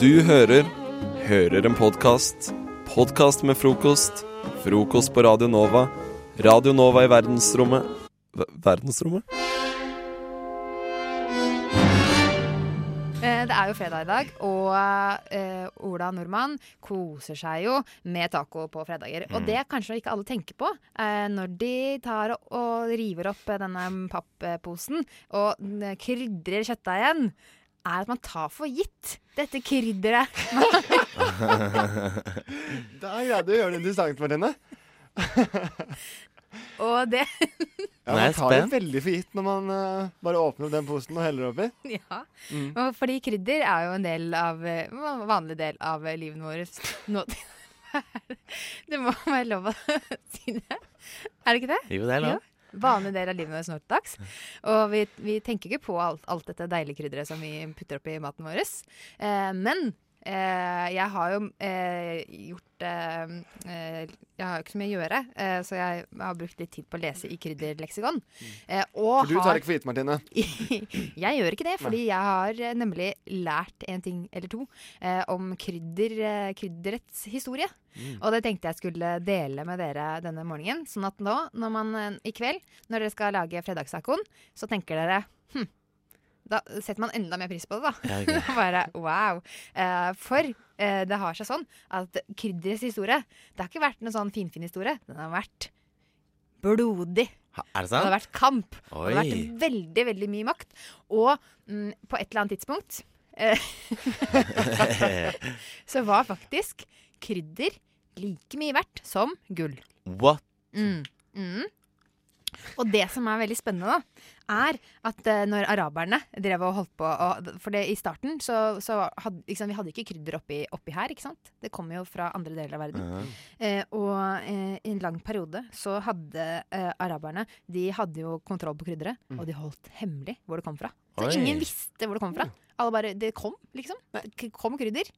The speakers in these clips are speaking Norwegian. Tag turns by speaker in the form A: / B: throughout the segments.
A: Du hører Hører en podkast. Podkast med frokost. Frokost på Radio Nova. Radio Nova i verdensrommet Ver- Verdensrommet?
B: Eh, Det er jo fredag i dag, og eh, Ola Nordmann koser seg jo med taco på fredager. Og det kanskje ikke alle tenker på eh, når de tar og, og river opp eh, denne pappposen og eh, krydrer kjøttdeigen, er at man tar for gitt dette krydderet.
C: Der greide du å gjøre det interessant, Martine.
B: Og det
C: Ja,
D: Nå er
C: man
D: jeg
C: tar det
D: spent.
C: veldig for gitt når man eh, bare åpner opp den posen og heller oppi.
B: Ja.
C: Mm.
B: Og Fordi krydder er jo en del av, eh, van- vanlig del av eh, livet vårt nå Det må være lov å si det. Er det ikke det?
D: Jo, det er lov.
B: Vanlig del av livet vårt nå til dags. Og vi, vi tenker ikke på alt, alt dette deilige krydderet som vi putter oppi maten vår. Eh, men eh, jeg har jo eh, gjort eh, eh, Jeg har jo ikke så mye å gjøre, eh, så jeg har brukt litt tid på å lese i krydderleksikon. Eh, og
C: Mm. For du
B: har-
C: tar det ikke for gitt, Martine.
B: jeg gjør ikke det, fordi jeg har eh, nemlig lært en ting eller to eh, om krydder, eh, krydderets historie.
D: Mm.
B: Og det tenkte jeg skulle dele med dere denne morgenen. Sånn at nå, når man, eh, i kveld, når dere skal lage fredagstacoen, så tenker dere hm, da setter man enda mer pris på det, da.
D: Ja, ok.
B: Bare wow. Eh, for eh, det har seg sånn at krydderets historie, det har ikke vært noen sånn finfin historie. Den har vært blodig.
D: Ha- Er det
B: Det har
D: sant?
B: vært kamp.
D: Oi.
B: Det har vært veldig, veldig mye makt. Og mm, på et eller annet tidspunkt eh, så var faktisk krydder like mye verdt som gull.
D: What?
B: Mm. Mm. Og det som er veldig spennende, da, er at eh, når araberne drev og holdt på og, For det, i starten så, så hadde liksom, vi hadde ikke krydder oppi, oppi her, ikke sant? Det kom jo fra andre deler av verden. Eh, og eh, i en lang periode så hadde eh, araberne De hadde jo kontroll på krydderet, og de holdt hemmelig hvor det kom fra. Så
D: Oi.
B: ingen visste hvor det kom fra. Alle bare Det kom, liksom. Det k- kom krydder.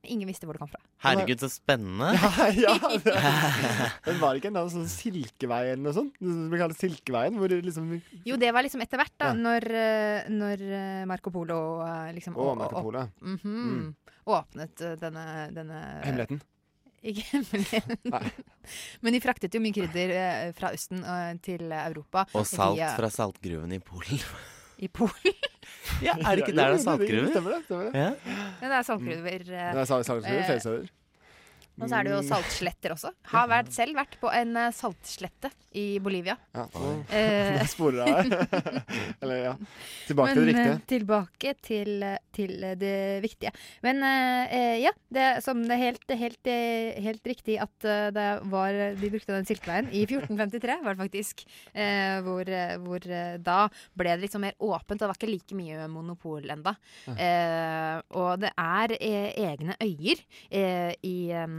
B: Men ingen visste hvor det kom fra.
D: Herregud, så spennende.
C: ja, det, men var det ikke en eller annen sånn silkevei eller noe sånt? Det som blir kalt Silkeveien? Hvor det liksom
B: Jo, det var liksom etter hvert, da,
C: Ja.
B: når, eh, når eh, Marco Polo eh, liksom
C: Å,
B: å-
C: Marco
B: å-
C: Polo.
B: mhm, Åpnet eh, denne, denne
C: Hemmeligheten.
B: Ikke hemmeligheten. Men de fraktet jo mye krydder eh, fra Østen eh, til Europa.
D: Og salt
B: via-
D: fra saltgruven i Polen.
B: I Polen.
D: Ja, er det ikke der
C: Ja, jo,
D: det er saltgruver?
C: Stemmer det. stemmer det. Mm.
D: Ja.
B: Ja, det er saltgruver. eh,
C: Nei, sal- saltgruver,
B: Eh,
C: fjellsteder.
B: Og så er det jo
C: Mm,
B: saltsletter også. Har vært, selv vært på en eh, saltslette i Bolivia.
C: Ja, nå-
B: Eh,
C: nå sporer jeg her. Eller ja. Tilbake til
B: men
C: det riktige.
B: eh, tilbake til, eh, til eh, det viktige. Men eh, eh, ja, det, er som det er helt, det er helt, eh, helt riktig at eh, det var De brukte den silkeveien. I 1453 var det faktisk. Eh, hvor eh, hvor eh, da ble det liksom mer åpent, og det var ikke like mye monopol enda. Eh, og det er eh, egne øyer eh, i, eh,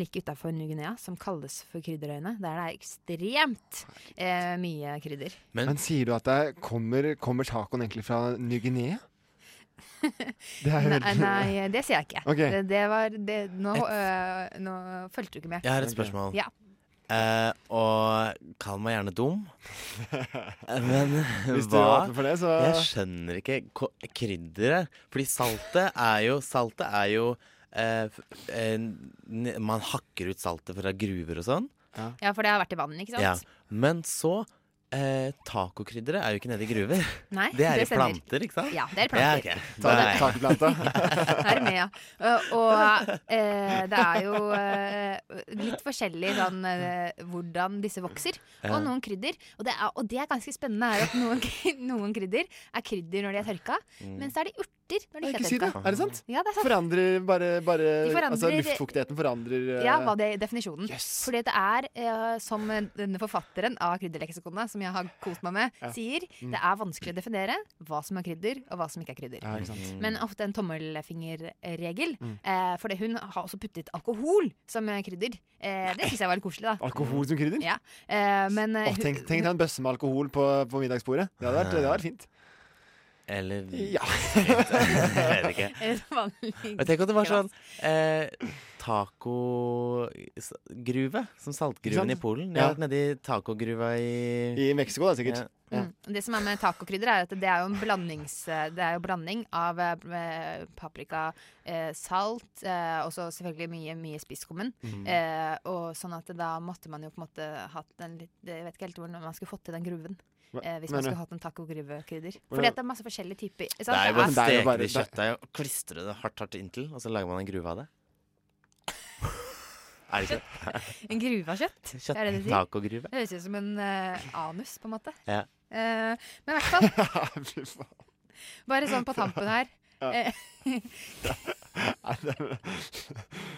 B: like utafor Ny-Guinea som kalles for krydderøyene. Der det er ekstremt eh, mye krydder.
C: Men sier du at det kommer, kommer tacoen egentlig fra Ny-Guinea? Det er jo
B: Nei,
C: veldig
B: nei, det sier jeg ikke.
C: Ok.
B: Det, det var, det, nå,
D: Et-
B: øh, nå fulgte du ikke med.
D: Jeg har et spørsmål.
B: Ja.
D: Eh, og kall meg gjerne dum, men
C: Hvis du
D: hva
C: åpner for det, så
D: Jeg skjønner ikke ko- krydderet. Fordi saltet er jo Saltet er jo eh, f- eh, n- Man hakker ut saltet fra gruver og sånn.
B: ja, for det har vært i vann, ikke
D: Ja.
B: sant?
D: Men så eh, Tacokrydderet er jo ikke nede i gruver.
B: Nei,
D: Det er i
B: stemmer.
D: planter, ikke sant?
B: Ja, det er i
D: Ja,
B: planter.
D: ok. Da er
C: Ta-
D: jeg-
C: Tacoplanta.
B: Her er med, ja. Og, og eh, det er jo eh, litt forskjellig sånn, eh, hvordan disse vokser. Og noen krydder. Og det er, og det er ganske spennende er at noen, kry- noen krydder er krydder når de er tørka,
D: Mm.
B: mens så er de urter når
C: Jeg
B: de
C: vil
B: ikke
C: Ikke
B: er
C: si det.
B: tørka.
C: Er det sant?
B: Ja, det er sant.
C: Forandrer bare, bare
B: De forandrer-
C: Altså luftfuktigheten forandrer eh,
B: Ja, hva det er definisjonen.
C: Yes.
B: Fordi det er, eh, som denne forfatteren av krydderleksikonet, som jeg har kost meg med, sier,
C: Mm.
B: det er vanskelig å definere hva som er krydder, og hva som ikke er krydder.
C: ja,
D: Mm.
C: ikke sant?
B: Men ofte en tommelfingerregel.
C: Mm.
B: Eh, fordi hun har også puttet alkohol som eh, krydder. Eh, det syns jeg var litt koselig, da.
C: Alkohol som krydder?
B: Ja. Eh, men eh,
C: Å, tenk,
B: hun-
C: tenk deg en bøsse med alkohol på, på middagsbordet. Det hadde vært, det hadde vært fint.
D: Eller
C: Ja.
D: Jeg vet ikke.
B: eh, vanlig-
D: Og tenk at det var sånn eh, tacogruve. Som
C: Ikke sant?
D: saltgruven i Polen. Jeg
C: Ja.
D: har vært nedi tacogruva i
C: I Mexico, da, sikkert.
D: Ja.
C: Ja.
B: Mm. Det som er med tacokrydder, er at det er jo en blandings, eh, det er jo blanding av eh, paprika, eh, salt eh, og så selvfølgelig mye, mye spisskummen.
C: Mm.
B: Eh, og sånn at da måtte man jo på en måte hatt en litt Jeg vet ikke helt hvordan man skulle fått til den gruven.
C: Hva-
B: Eh, hvis
C: mener
B: man
C: du?
B: skulle hatt en tacogruvekrydder.
C: Hvordan-
B: Fordi at det er masse forskjellige typer. sant? Det
D: Det er jo bare å
C: Men det er jo
D: steke
C: bare-
D: det i
C: det-
D: kjøttdeig og klistre det hardt hardt inntil, og så lager man en gruve av det. Er det ikke
B: er en gruve av kjøtt.
D: det?
B: Er det det
D: Kjøtt-
B: du sier?
D: Tacogruve.
B: Det høres ut som en eh, anus, på en måte.
D: Ja.
B: Eh, men i hvert fall,
C: Fy faen.
B: bare sånn på tampen her. eh,
C: Nei, det er-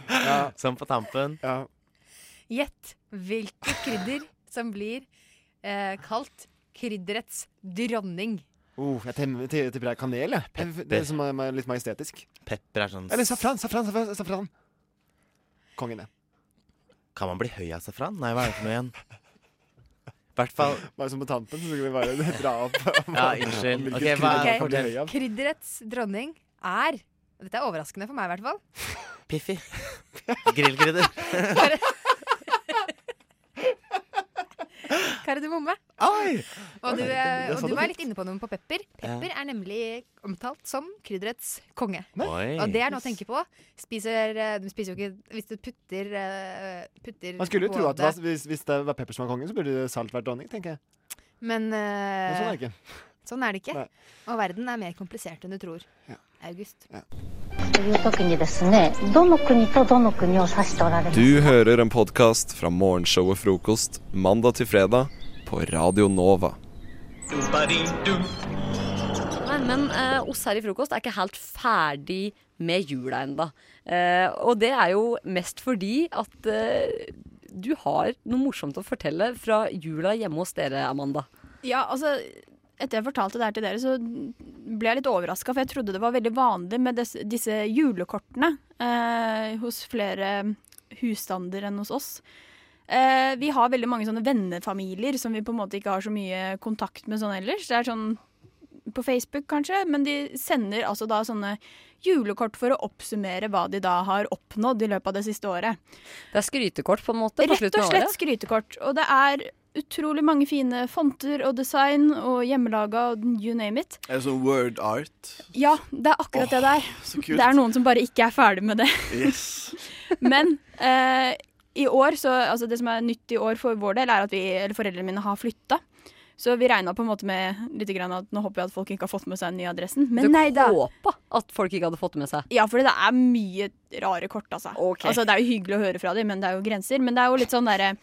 C: ja,
D: Sånn på tampen.
C: ja.
B: Gjett hvilket krydder som blir eh, kalt krydderets dronning.
C: Oh, jeg tem- ti- tipper det er kanel, jeg. Pepper. Det er som er, er litt majestetisk.
D: Pepper er sånn
C: Eller safran, safran, safran. safran. Kongen, det.
D: Kan man bli høy av safran? Nei, hva er det for noe igjen? I hvert fall
C: Bare som på tampen, så skulle vi bare dra opp.
D: Ja, unnskyld.
C: Hvilket
B: er
D: Ok, hva
C: krydder kan bli
D: fortell?
C: høy av.
B: Krydderets dronning er og Dette er overraskende for meg, i hvert fall.
D: Piffi. Grillkrydder.
B: Kardemomme.
C: Oi!
B: Og du, eh,
C: Det
B: og
C: sa
B: du
C: du
B: var
C: fint.
B: litt inne på noe på pepper.
D: Ja.
B: Pepper er nemlig omtalt som krydderets konge.
D: Oi.
B: Og det er noe å tenke på. Spiser, eh, du spiser jo ikke Hvis du putter, eh, putter
C: Man skulle jo
B: på
C: tro at det var, hvis, hvis det var pepper som var kongen, så burde salt vært dronning, tenker jeg.
B: Men
C: Men sånn er
B: eh,
C: det ikke.
B: sånn er det ikke.
C: Nei.
B: Og verden er mer komplisert enn du tror.
C: Ja.
B: August.
E: という時にですねどの国とどの国を指しておられます
A: Du hører en podkast fra morgenshowet Frokost mandag til fredag på Radio Nova.
F: Nei, men eh, oss her i Frokost er ikke helt ferdig med jula ennå. og det er jo mest fordi at eh, du har noe morsomt å fortelle fra jula hjemme hos dere, Amanda.
G: Ja, altså etter jeg fortalte det her til dere, så ble jeg litt overraska. For jeg trodde det var veldig vanlig med des, disse julekortene eh, hos flere husstander enn hos oss. Eh, vi har veldig mange sånne vennefamilier som vi på en måte ikke har så mye kontakt med sånn ellers. Det er sånn på Facebook kanskje, men de sender altså da sånne julekort for å oppsummere hva de da har oppnådd i løpet av det siste året.
F: Det er skrytekort på en måte på
G: Rett
F: slutten
G: og
F: av
G: slett
F: året.
G: skrytekort. Og det er utrolig mange fine fonter og design og hjemmelaga og you name it.
H: Er det sånn word art?
G: Ja, det er akkurat det der.
H: Så kult.
G: Det er noen som bare ikke er ferdig med det.
H: Yes.
G: Men eh, i år, så, altså det som er nytt i år for vår del, er at vi, eller foreldrene mine har flytta. Så vi regna på en måte med litt grann at nå håper jeg at folk ikke har fått med seg den nye adressen. Men nei da.
F: håpa at folk ikke hadde fått det med seg.
G: Ja, for det er mye rare kort, altså.
F: Ok.
G: altså. Det er jo hyggelig å høre fra dem, men det er jo grenser. Men det er jo litt sånn derre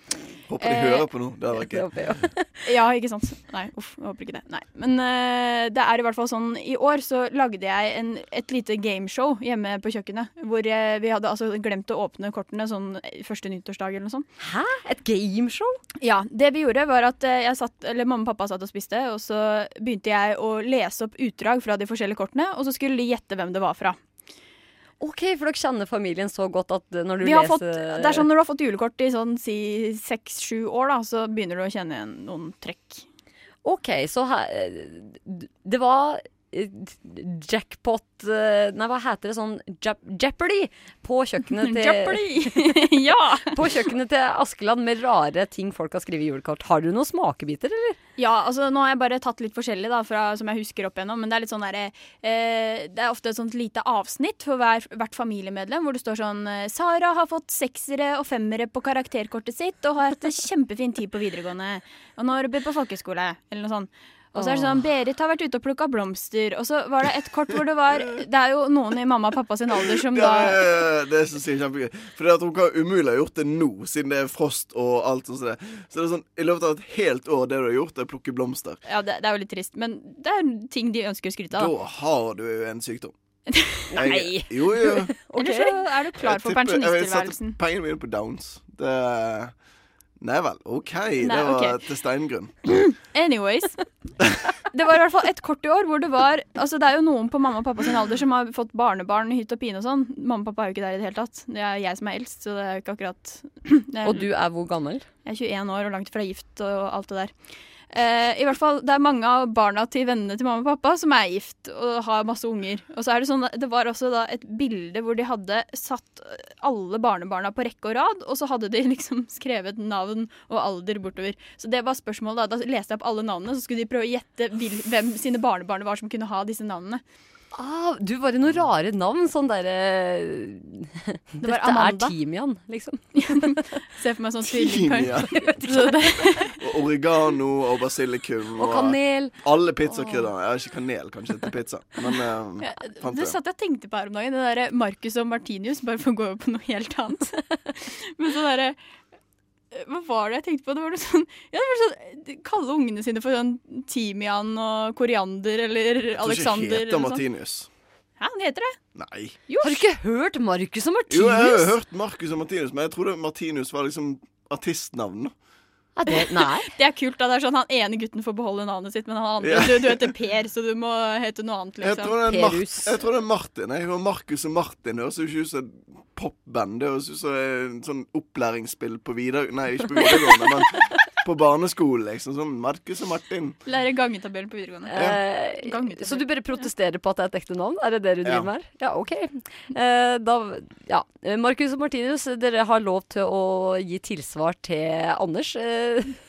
H: Håper de
G: Eh,
H: hører på noe. Det var
F: Det
H: gøy.
F: håper jeg.
G: Ja, ikke sant. Nei, uff, jeg håper ikke det. Nei. Men eh, det er i hvert fall sånn I år så lagde jeg en, et lite gameshow hjemme på kjøkkenet. Hvor eh, vi hadde altså glemt å åpne kortene sånn første nyttårsdag eller noe sånt.
F: Hæ? Et gameshow?
G: Ja, det vi gjorde var at eh, jeg satt, eller mamma og pappa satt og spiste, og så begynte jeg å lese opp utdrag fra de forskjellige kortene, og så skulle de gjette hvem det var fra.
F: OK, for dere kjenner familien så godt at eh, når du
G: Vi har
F: leser
G: fått, det er sånn Når du har fått julekort i sånn si seks-sju år, da, så begynner du å kjenne igjen noen trekk.
F: OK, så her, eh, Det var eh, jackpot eh, Nei, hva heter det sånn? Jap- Jeopardy på kjøkkenet til
G: Jeopardy! ja!
F: På kjøkkenet til Askeland med rare ting folk har skrevet i julekort. Har du noen smakebiter, eller?
G: Ja, altså nå har jeg bare tatt litt forskjellig da, fra, som jeg husker opp igjennom, men det er litt sånn der, eh, det er ofte et sånt lite avsnitt for hver, hvert familiemedlem, hvor det står sånn eh, Sara har fått seksere og femmere på karakterkortet sitt og har hatt en kjempefin tid på videregående, og nå har hun begynt på folkeskole, eller noe sånt. Og så er det sånn, Berit har vært ute og plukka blomster. Og så var det et kort hvor det var Det er jo noen i mamma og pappa sin alder som
H: Det,
G: da
H: er- det syns jeg er kjempegøy. For det at hun kan umulig ha gjort det nå, siden det er frost og alt sånt. som det. Så det er sånn, I løpet av et helt år, det du har gjort, er å plukke blomster.
G: Ja, det, det er jo litt trist, men det er ting de ønsker å skryte av. da.
H: Da har du jo en sykdom.
F: Nei.
H: Jeg, jo, jo.
G: Eller så er du klar for
H: Jeg tipper- jeg
G: pensjonisttilværelsen.
H: satte pengene mine på downs. Det Nei vel. OK.
G: Nei,
H: det var
G: ok.
H: til steingrunn.
G: Anyways. Det var i hvert fall et kort i år hvor det var Altså det er jo noen på mamma og pappa sin alder som har fått barnebarn i hytt og pine og sånn. Mamma og pappa er jo ikke der i det hele tatt. Det er jeg som er eldst, så det er jo ikke akkurat det er,
F: Og du er hvor gammel?
G: Jeg er 21 år og langt fra gift og alt det der. Eh, I hvert fall, Det er mange av barna til vennene til mamma og pappa som er gift og har masse unger. Og så er Det sånn, det var også da et bilde hvor de hadde satt alle barnebarna på rekke og rad, og så hadde de liksom skrevet navn og alder bortover. Så det var spørsmålet. Da Da leste jeg opp alle navnene, så skulle de prøve å gjette hvil- hvem sine barnebarn var som kunne ha disse navnene.
F: Ah, du var i noen rare navn. Sånn derre
G: var
F: Dette er
G: Amanda.
F: timian, liksom.
G: Se for meg sånn
H: Timian.
G: Så det-
H: Og oregano og basilikum
F: Og kanel.
H: alle pizzakrydderne. Ja, ikke kanel, kanskje, til pizza. Men eh,
G: Ja,
H: fant
G: Det
H: det.
G: satt jeg og tenkte på her om dagen. Det derre Marcus og Martinius, bare for å gå over på noe helt annet. Men så derre Hva var det jeg tenkte på? Det var noe sånn Ja, det var sånn de Kalle ungene sine for sånn timian og koriander eller
H: jeg tror ikke
G: Alexander
H: det
G: eller
H: heter
G: noe sånt.
H: Martinius.
G: Hæ, han heter det?
H: Nei.
G: Jo.
F: Har du ikke hørt Marcus og
H: Jo, jeg har jo
F: Martinus?
H: hørt Marcus og Martinus, men jeg trodde Martinus var liksom artistnavnet.
F: Er det, nei.
G: Det er kult. da, det er sånn Han ene gutten får beholde navnet sitt, men han andre
H: Ja.
G: du, du heter Per, så du må hete noe annet,
H: Jeg
G: liksom.
H: tror det er, Mar
F: Perus.
H: jeg tror det er Martin. Jeg og Marcus og Martin høres jo ikke ut som et popband. Det høres ut som en sånn opplæringsspill på videre... Nei, ikke på videregående, men på barneskolen, liksom. Sånn Marcus og Martin.
G: Lære gangetabellen på videregående.
F: Eh,
G: Gang ut av
F: så du
G: det.
F: bare protesterer på at det er et ekte navn? Er det det du driver
H: Ja.
F: med her? Ja, OK. Eh, da, ja. Eh, Marcus og Martinus, dere har lov til å gi tilsvar til Anders. eh,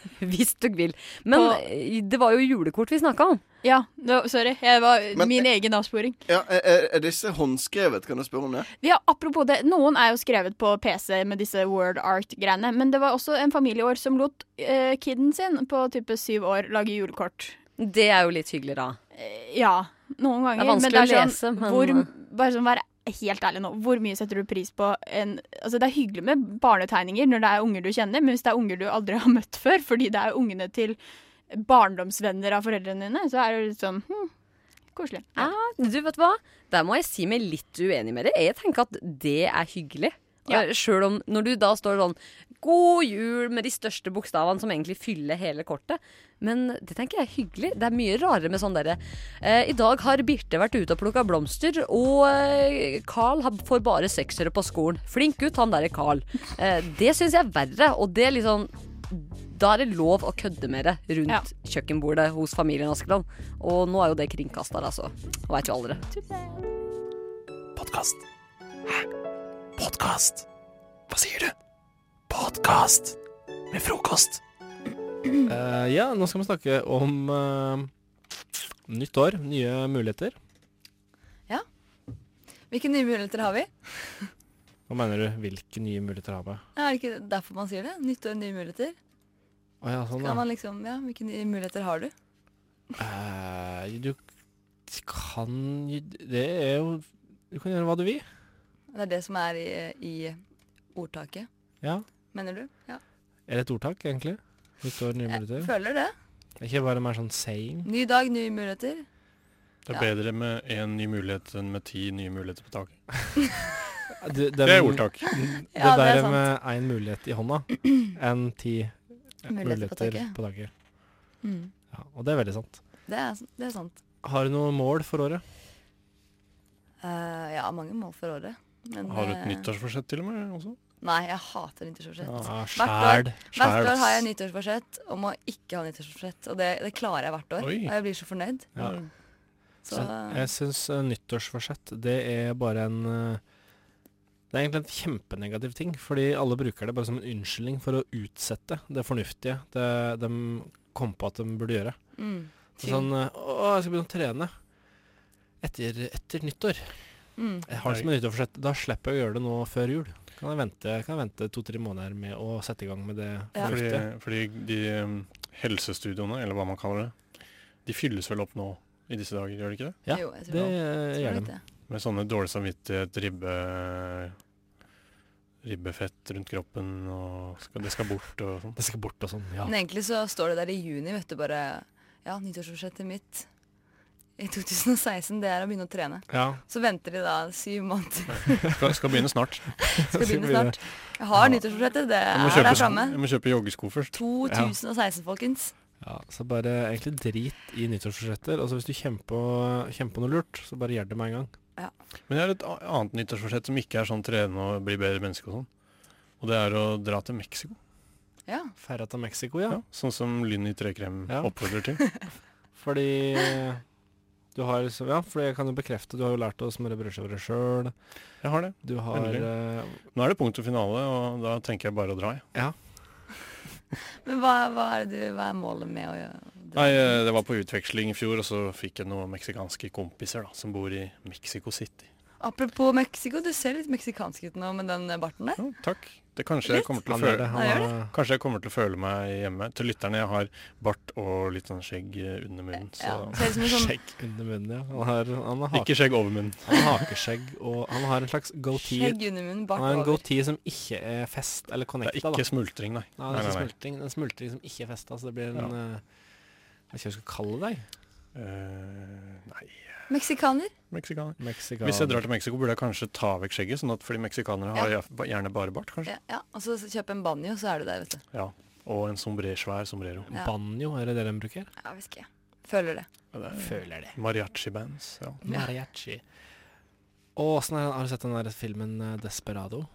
F: hvis du vil. Men
G: På-
F: eh, det var jo julekort vi snakka om.
G: Ja, det var, sorry. Jeg var
H: Men-
G: min egen avsporing.
H: Ja, er- er, er disse håndskrevet? Kan jeg spørre om det?
G: Ja, apropos det, Noen er jo skrevet på PC med disse word art-greiene. Men det var også en familie i år som lot eh, kiden sin på type syv år lage julekort.
F: Det er jo litt hyggelig, da.
G: Eh, ja, noen ganger.
F: Det er vanskelig
G: men det er
F: å
G: sånn,
F: lese, men- eh,
G: Hvor, bare sånn, vær helt ærlig nå. Hvor mye setter du pris på en Altså, det er hyggelig med barnetegninger når det er unger du kjenner, men hvis det er unger du aldri har møtt før, fordi det er ungene til barndomsvenner av foreldrene dine, så er det litt sånn hm, koselig.
F: Ja. Ah, Du, vet du hva? Der må jeg si meg litt uenig med deg. Jeg tenker at det er hyggelig.
G: Ja.
F: Eh, Selv om når du da står sånn 'God jul' med de største bokstavene som egentlig fyller hele kortet. Men det tenker jeg er hyggelig. Det er mye rarere med sånn derre eh, I dag har Birte vært ute og plukka blomster, og eh, Carl har- får bare seksere på skolen. Flink gutt, han derre Carl. Eh, det syns jeg er verre, og det er litt sånn da er det lov å kødde med det rundt
G: Ja.
F: kjøkkenbordet hos familien Askeland. Og nå er jo det kringkasta, altså. Og veit jo aldri.
A: Podkast. Hæ? Podkast? Hva sier du? Podkast med frokost.
I: Eh, ja, nå skal vi snakke om eh, nytt år, nye muligheter.
J: Hvilke nye muligheter har vi?
I: Hva mener du? Hvilke nye muligheter har vi?
J: Er det ikke derfor man sier det? Nytt og nye muligheter.
I: Å ja, sånn
J: Kan
I: ja.
J: man liksom, ja, Hvilke nye muligheter har du?
I: Eh, du kan jo Det er jo Du kan gjøre hva du vil.
J: Det er det som er i, i ordtaket,
I: Ja.
J: mener du? Ja.
I: Er det et ordtak, egentlig? Nytt år, nye
J: Jeg
I: muligheter.
J: føler det.
I: Det er ikke bare mer sånn saying.
J: Ny dag, nye muligheter.
K: Det
J: Ja.
K: er bedre med én ny mulighet enn med ti nye muligheter på taket.
I: Det,
K: Det er ordtak.
I: Det
J: Ja, det er
I: der
J: sant.
I: med én mulighet i hånda enn ti
J: Muligheter på
I: muligheter
J: taket.
I: på taket.
J: Mm.
I: Ja, og det er veldig sant.
J: Det, er, s- det er sant.
I: Har du noe mål for året?
J: Eh, ja, mange mål for året. Men,
I: Ah.
K: Har du et
J: eh,
K: nyttårsforsett til og med? Også?
J: Nei, jeg hater nyttårsforsett. Hvert
I: Ja, sjæl.
J: Hvert år
K: ass.
J: har jeg nyttårsforsett om å ikke ha nyttårsforsett. Og det, det klarer jeg hvert år.
K: Oi.
J: Og jeg blir så fornøyd. Mm.
I: Ja.
J: Så
I: Jeg syns eh, nyttårsforsett det er bare en eh, Det er egentlig en kjempenegativ ting, fordi alle bruker det bare som en unnskyldning for å utsette det fornuftige det de kom på at de burde gjøre.
J: mm,
I: Sånn eh, Å, jeg skal begynne å trene. Etter, etter nyttår.
J: mm.
I: Jeg har det som et nyttårsforsett. Da slipper jeg å gjøre det nå før jul. Kan jeg vente, kan jeg vente to-tre måneder med å sette i gang med det
J: Ja.
K: Fordi,
I: fornuftige?
K: fordi de um, helsestudioene, eller hva man kaller det, de fylles vel opp nå i disse dager, gjør de ikke det?
I: Ja,
J: Jo, jeg tror
I: Det
J: det.
I: eh,
J: Tror
I: gjør
J: nok
I: de.
J: det.
K: Med sånne dårlig samvittighet, ribbe, ribbefett rundt kroppen, og skal, det skal bort og sånn.
I: Det skal bort og sånn. Ja.
J: Men egentlig så står det der i juni, vet du, bare Ja, nyttårsforsettet mitt i 2016, det er å begynne å trene.
I: ja.
J: Så venter de da syv måneder.
K: Skal, skal begynne snart.
J: Skal
I: Så
J: begynne
I: blir det-
J: snart. Jeg har nyttårsforsettet, det
K: Jeg må
J: er
K: kjøpe,
J: der
K: sko,
J: framme.
K: jeg må kjøpe joggesko først.
J: 2016, folkens.
I: Ja, så bare egentlig drit i nyttårsforsetter. Altså hvis du kjenner på, kjenner på noe lurt, så bare gjør det med en gang.
K: Men jeg har et a- annet nyttårsforsett som ikke er sånn trene og bli bedre menneske og sånn. Og det er å dra til Mexico.
J: Ja.
I: Ferra til Mexico, ja.
K: Sånn som Lynn i trekrem
I: Ja.
K: oppfordrer til.
I: Fordi du har liksom Ja, for jeg kan jo bekrefte, du har jo lært å smøre brødskiver sjøl.
K: Jeg har det.
I: Du har
K: Endelig.
I: eh,
K: Nå er det punkt og finale, og da tenker jeg bare å dra. jeg.
J: Men hva, hva, er det du, hva er målet med å gjøre
K: Nei, eh, Det var på utveksling i fjor, og så fikk jeg noen meksikanske kompiser da, som bor i Mexico City.
J: Apropos Mexico, du ser litt meksikansk ut nå med den barten der.
K: takk. Det kanskje jeg, kommer til å
I: Han gjør
K: føle,
I: det, han Han gjør er-
K: kanskje jeg kommer til å føle meg hjemme. Til lytterne, jeg har bart og litt sånn skjegg eh, under munnen. Så.
J: Ja, ser ut som en sånn-
K: Skjegg.
I: under munnen, ja. Han har, han har
K: Ikke skjegg over munnen.
I: Han har hakeskjegg, og han har en slags goatee.
J: Skjegg under munnen, bart
I: Han har en
J: over.
I: goatee som ikke er fest eller connecta.
K: Det er ikke smultring, nei.
I: Nei, det er
K: Nei, nei,
I: ikke
K: nei.
I: smultring. Det er en smultring som ikke er festa, så det blir en
K: Ja.
I: eh, Hva skal jeg skal kalle deg?
K: Eh, nei,
J: Meksikaner?
K: meksikaner.
I: Mexikan.
K: Hvis jeg drar til Mexico, burde jeg kanskje ta vekk skjegget, sånn at, fordi meksikanere har
J: Ja.
K: ja- gjerne bare bart, kanskje.
J: Ja, ja. Og så kjøp en banjo, så er du der, vet du.
K: Ja. Og en sombre, svær sombrero.
J: Ja.
I: Banjo, er det det de bruker?
J: Ja, visst ikke. Føler det.
I: Føler det.
K: Mariachi-bands. Ja.
I: Mariachi. Og åssen er Har du sett den der filmen eh, Desperado?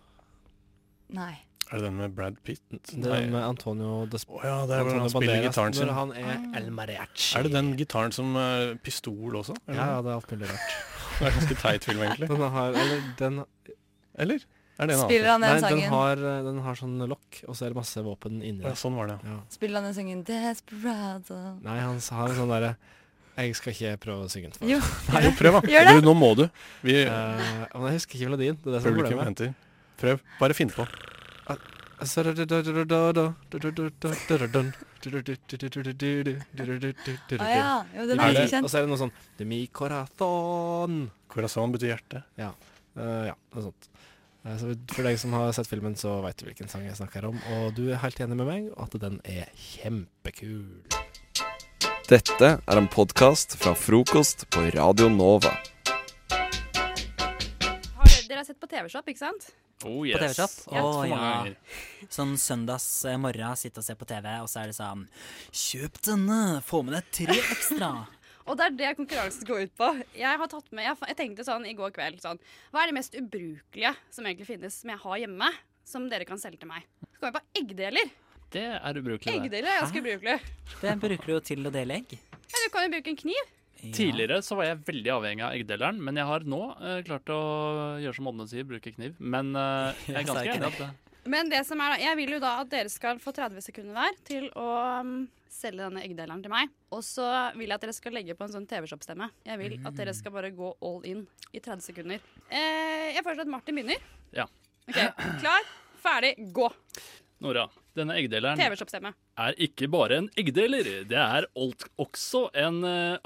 J: Nei.
K: Er det den med Brad Pitt?
I: Den med Antonio Desp...
K: Å ja, det er hvor han spiller gitaren sin.
I: Når han
J: Ah.
I: er El Mariachi.
K: Er det den gitaren som er pistol også? Er det
I: Ja, ja,
K: den?
I: det er alt mulig rart.
K: Det er ganske teit film, egentlig.
I: Den har, eller, den,
K: Eller? Er det en annen?
J: Spiller han den
I: nei, den
J: sangen?
I: har, eh, den har sånn lokk, og så er det masse våpen inni
K: Ja,
I: der.
K: sånn var det, ja.
I: Ja.
J: Spiller han den sangen Desperado?
I: Nei, han s- har en sånn derre Jeg skal ikke prøve å synge den for deg.
J: Jo.
K: Nei, jo, prøv, da.
J: Gjør det.
K: Du, nå må du. Vi,
I: Eh, men jeg husker ikke melodien. Det er det som er
K: publikum
I: problemet.
K: henter. Prøv. Bare finn på.
J: Å ja. Jo, den
K: Er
J: er
K: det-
J: ikke
I: Og
J: kjent.
I: så er det noe sånn De mi corazón
K: Corazon betyr hjerte.
I: Eh, Ja, noe sånt. Eh, Så for deg som har sett filmen, så veit du hvilken sang jeg snakker om. Og du er helt enig med meg at den er kjempekul.
A: Dette er en podkast fra frokost på Radio Nova.
L: Har dere, dere har sett på TV-Shop, ikke sant?
M: Oh,
N: På TV-shop.
L: Ja.
N: Å
L: For mange
N: ja.
L: ganger.
N: Sånn søndags eh, morgen, sitte og se på TV, og så er det sånn Kjøp denne! Få med deg tre ekstra!
L: Og det er det konkurransen går ut på. Jeg har tatt med, jeg, fa- jeg tenkte sånn i går kveld sånn Hva er det mest ubrukelige som egentlig finnes, som jeg har hjemme, som dere kan selge til meg? Så kom jeg på eggdeler.
M: Det er ubrukelig. det.
L: Eggdeler er ganske
M: Hæ?
L: ubrukelig.
N: Det bruker du jo til å dele egg.
L: Men du kan jo bruke en kniv.
M: Tidligere så var jeg veldig avhengig av eggdeleren, men jeg har nå eh, klart å gjøre som Ådne sier, bruke kniv. Men eh, jeg er
N: Jeg sa
M: ganske
N: ikke
M: enig i
N: det.
M: at det
L: Men det som er da, jeg vil jo da at dere skal få 30 sekunder hver til å um, selge denne eggdeleren til meg. Og så vil jeg at dere skal legge på en sånn TV-shop-stemme. Jeg vil at dere skal bare gå all in i 30 sekunder. Eh, jeg foreslår at Martin begynner.
M: Ja.
L: Ok, Klar, ferdig, gå.
M: Nora, denne eggdeleren
L: TV-shop-stemme.
M: er ikke bare en eggdeler. Det er alt også en eh,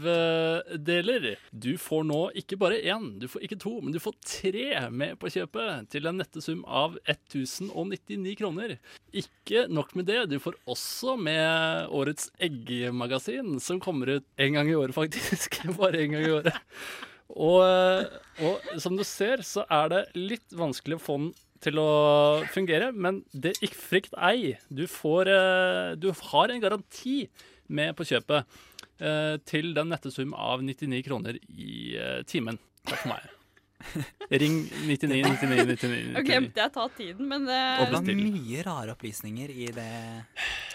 M: agurkskivedeler. Du får nå ikke bare én, du får ikke to, men du får tre med på kjøpet til en nette sum av 1099 kroner. Ikke nok med det, du får også med årets eggmagasin, som kommer ut en gang i året, faktisk. Bare en gang i året. Og, eh, og som du ser, så er det litt vanskelig å få den til å fungere, men det ikke frykt ei. Du, får, eh, du har en garanti med på kjøpet eh, til den nette sum av 99 kroner i eh, timen. Takk for meg. Ring 99 99 99.
N: Mm,
L: Og glemte jeg å ta tiden, men eh,
N: Det var
L: det,
N: mye rare opplysninger i det.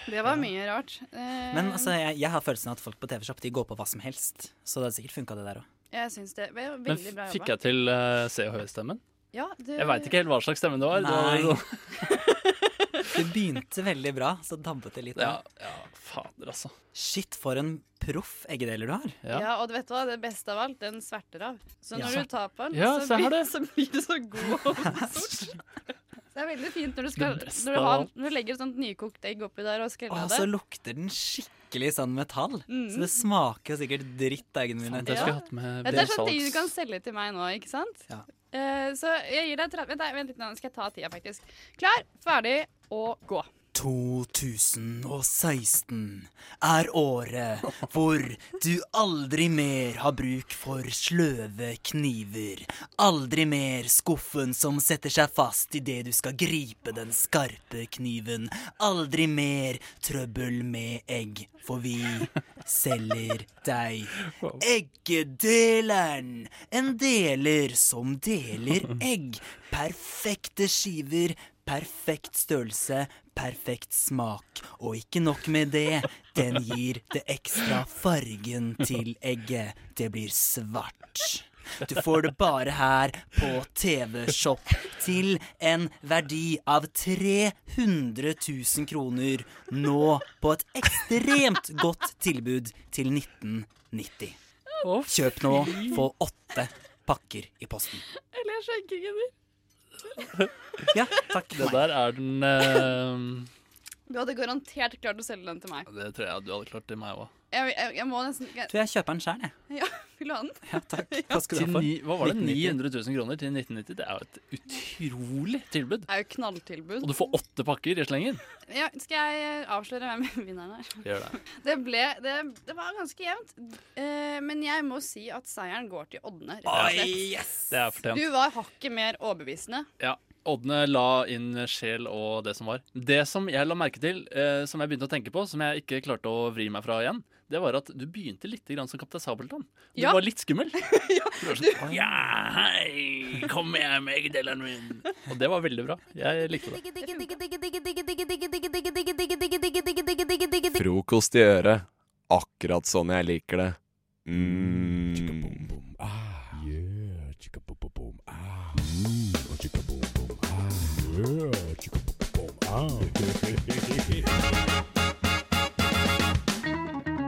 L: det var mye rart. Eh,
N: Men altså, jeg, jeg har følelsen av at folk på TV-shop de går på hva som helst. Så det hadde sikkert funka, det der òg.
L: Jeg syns det var jo
M: Men
L: veldig bra
M: fikk jeg til eh, Se og Hør-stemmen?
L: Ja, det-
M: Jeg veit ikke helt hva slags stemme det var.
N: Nei.
M: Det var sånn,
N: Det begynte veldig bra, så dabbet det litt.
M: ja, ja, fader, altså.
N: Shit, for en proff eggedeler du har.
L: Ja. og du vet hva, det beste av alt, den sverter av. Så når
N: Ja.
L: du tar på den,
N: Ja,
L: så,
N: se her
L: blir,
N: det.
L: så blir du så god og sort. Det er veldig fint når du, skal,
N: Det beste
L: når du,
N: av
L: har,
N: alt.
L: når du legger et sånt nykokt egg oppi der og
N: Og
L: skreller
N: så
L: det.
N: lukter den skikkelig sånn metall.
L: Mm.
N: Så det smaker jo sikkert dritt av eggene mine.
M: Faen, det skulle jeg hatt med
L: Dette er sånne ting du kan selge til meg nå, ikke sant?
N: Ja.
L: Eh, så jeg gir deg 30 Vent, nei, vent litt, nå skal jeg ta tida, faktisk. Klar, ferdig og gå.
N: 2016 er året hvor du aldri mer har bruk for sløve kniver. Aldri mer skuffen som setter seg fast idet du skal gripe den skarpe kniven. Aldri mer trøbbel med egg, for vi selger deg eggedeleren. En deler som deler egg. Perfekte skiver Perfekt størrelse, perfekt smak. Og ikke nok med det, den gir det ekstra fargen til egget. Det blir svart. Du får det bare her på TV-Shop til en verdi av 300 000 kroner. Nå på et ekstremt godt tilbud til 1990. Kjøp nå, få åtte pakker i posten.
L: Eller jeg skjenker ikke mer.
N: Ja, takk.
M: Det der er den eh,
L: Du hadde garantert klart å selge den til meg.
M: Det tror jeg du hadde klart til meg òg.
L: Jeg, jeg, jeg må nesten jeg,
N: Tror jeg kjøper den sjøl, jeg.
L: Ja, vil du ha den?
N: Hva skal du ha
M: Til
N: for?
M: ni- Hva var det? 900
N: 1990.
M: 000 kroner til 1990? Det er jo et utrolig tilbud.
L: Det er jo knalltilbud.
M: Og du får åtte pakker i slengen.
L: Ja, skal jeg avsløre hvem vinneren er?
M: Gjør det.
L: Det, ble, det, det var ganske jevnt. Eh, men jeg må si at seieren går til Ådne. rett og slett.
M: Det er fortjent.
L: Du var hakket mer overbevisende.
M: Ja. Ådne la inn sjel og det som var. Det som jeg la merke til, eh, som jeg begynte å tenke på, som jeg ikke klarte å vri meg fra igjen, det var at du begynte litt grann som Kaptein Sabeltann. Du
L: Ja.
M: var litt skummel. Du var sånn, ja, hei, kom med meg, deleren min. Og det var veldig bra. Jeg likte det.
A: Frokost i øret. Akkurat sånn jeg liker det. Mm.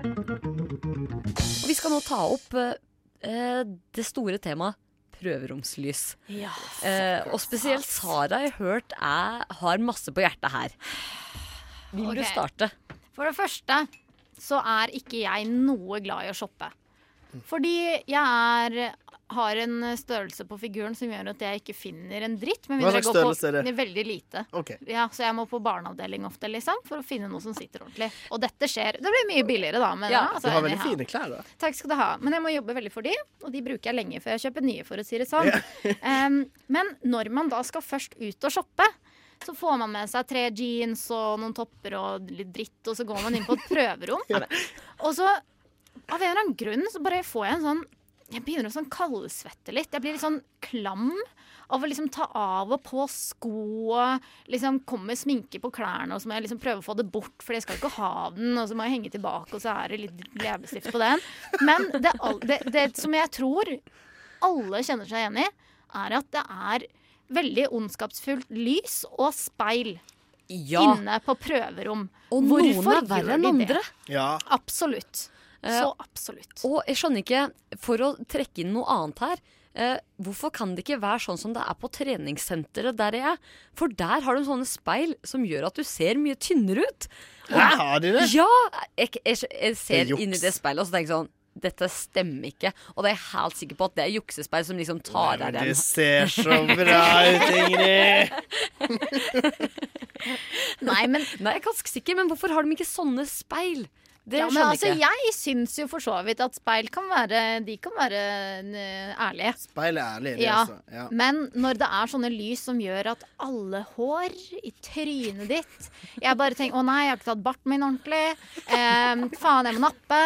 F: Og vi skal nå ta opp eh, eh, det store temaet prøveromslys.
L: Ja.
F: Eh, og spesielt Sara jeg har hørt er, har masse på hjertet her. Vil
O: Ok.
F: du starte?
O: For det første så er ikke jeg noe glad i å shoppe. Fordi jeg er, har en størrelse på figuren som gjør at jeg ikke finner en dritt. Men
P: Hva
O: mindre jeg
P: slags
O: går på-
P: størrelse er det?
O: Veldig lite. Ja, så jeg må på barneavdeling ofte, liksom, for å finne noe som sitter ordentlig. Og dette skjer. Det blir mye billigere, da. Men, ja, altså,
P: du har veldig
O: anyhow.
P: fine klær, da.
O: Takk skal du ha. Men jeg må jobbe veldig for de, og de bruker jeg lenge før jeg kjøper nye, for å si det sånn. Em, men når man da skal først ut og shoppe, så får man med seg tre jeans og noen topper og litt dritt, og så går man inn på et prøverom. Og så, av en eller annen grunn, så bare får jeg en sånn Jeg begynner å sånn kaldsvette litt. Jeg blir litt sånn klam av å liksom ta av og på sko og liksom komme med sminke på klærne, og så må jeg liksom prøve å få det bort, for jeg skal ikke ha den, og så må jeg henge tilbake, og så er det litt leppestift på den. Men det, al- det, det som jeg tror alle kjenner seg igjen i, er at det er veldig ondskapsfullt lys og speil
F: Ja.
O: inne på prøverom.
F: Og noen er verre
O: gjør
F: enn
O: de det?
F: andre.
P: Ja.
O: Absolutt. Så absolutt.
F: Eh, Og jeg skjønner ikke, for å trekke inn noe annet her eh, Hvorfor kan det ikke være sånn som det er på treningssenteret der jeg er? For der har de sånne speil som gjør at du ser mye tynnere ut. Og-
P: Hæ, har de det?
F: Ja! Jeg, jeg, jeg
P: Det er
F: ser
P: juks.
F: inn i det speilet og så tenker jeg sånn dette stemmer ikke, og det er jeg helt sikker på at det er juksespeil som liksom tar av den.
P: Det ser så bra ut, Ingrid.
F: Nei, men Nei, jeg er ganske sikker, men hvorfor har de ikke sånne speil? Det
O: ja, men
F: skjønner
O: altså,
F: jeg ikke.
O: jeg syns jo for så vidt at speil kan være De kan være eh, ærlige.
P: Speil er ærlig, det,
O: Ja.
P: altså. Ja.
O: Men når det er sånne lys som gjør at alle hår i trynet ditt Jeg bare tenker 'Å nei, jeg har ikke tatt barten min ordentlig'. Eh, faen, jeg må nappe.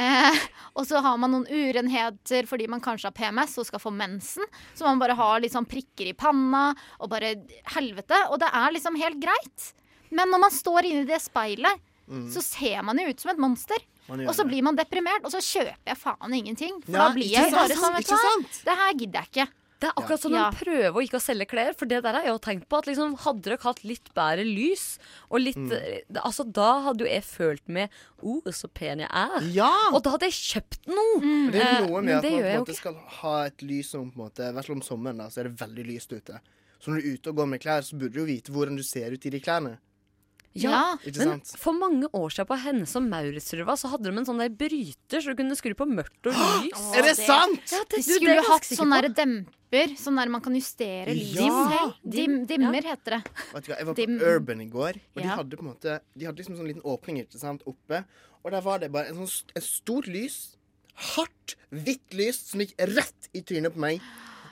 O: Eh, og så har man noen urenheter fordi man kanskje har PMS og skal få mensen. Så man bare har litt sånn prikker i panna og bare helvete. Og det er liksom helt greit. Men når man står inni det speilet,
P: Mm.
O: så ser man jo ut som et monster.
P: Man gjør
O: Og så
P: det.
O: blir man deprimert, og så kjøper jeg faen ingenting. For
F: Ja,
O: da blir
F: ikke
O: jeg
F: sant,
O: bare sånn, vet du
F: ikke
O: hva.
F: sant?
O: Det her gidder jeg ikke.
F: Det er akkurat som
O: Ja.
F: de prøver å ikke å selge klær. For det der har jeg jo tenkt på at liksom, Hadde dere hatt litt bedre lys, og litt,
P: Mm.
F: eh, altså, da hadde jo jeg følt meg Å, så pen jeg er. Og da hadde jeg kjøpt noe.
P: Mm. Det
F: Eh,
P: er noe med
F: men
P: at
F: det
P: man på
F: gjør
P: en
F: jeg jo
P: måte skal ha et lys som på en måte, i hvert fall om sommeren da, så er det veldig lyst ute. Så når du er ute og går med klær, så burde du jo vite hvordan du ser ut i de klærne.
F: Ja,
P: Ikke
F: men
P: sant?
F: for mange år siden på henne som Mauritsrøva, så hadde de en sånn der bryter, så du kunne skru på mørkt og lys.
P: Er det sant?
F: Ja,
O: De
F: det, du, det
O: skulle
F: er
O: jo
F: jeg
O: hatt
F: ganske
O: sånn
F: sikker
O: der
F: på.
O: demper, sånn der man kan justere lyset
P: Ja.
O: selv. Dim, dimmer heter det.
P: Vet du hva, jeg var på
O: Dim-
P: Urban i går, og de
O: Ja.
P: hadde på en måte De hadde liksom sånn liten åpning ikke sant, oppe, og der var det bare en sånn, st- et stort lys. Hardt, hvitt lys som gikk rett i trynet på meg.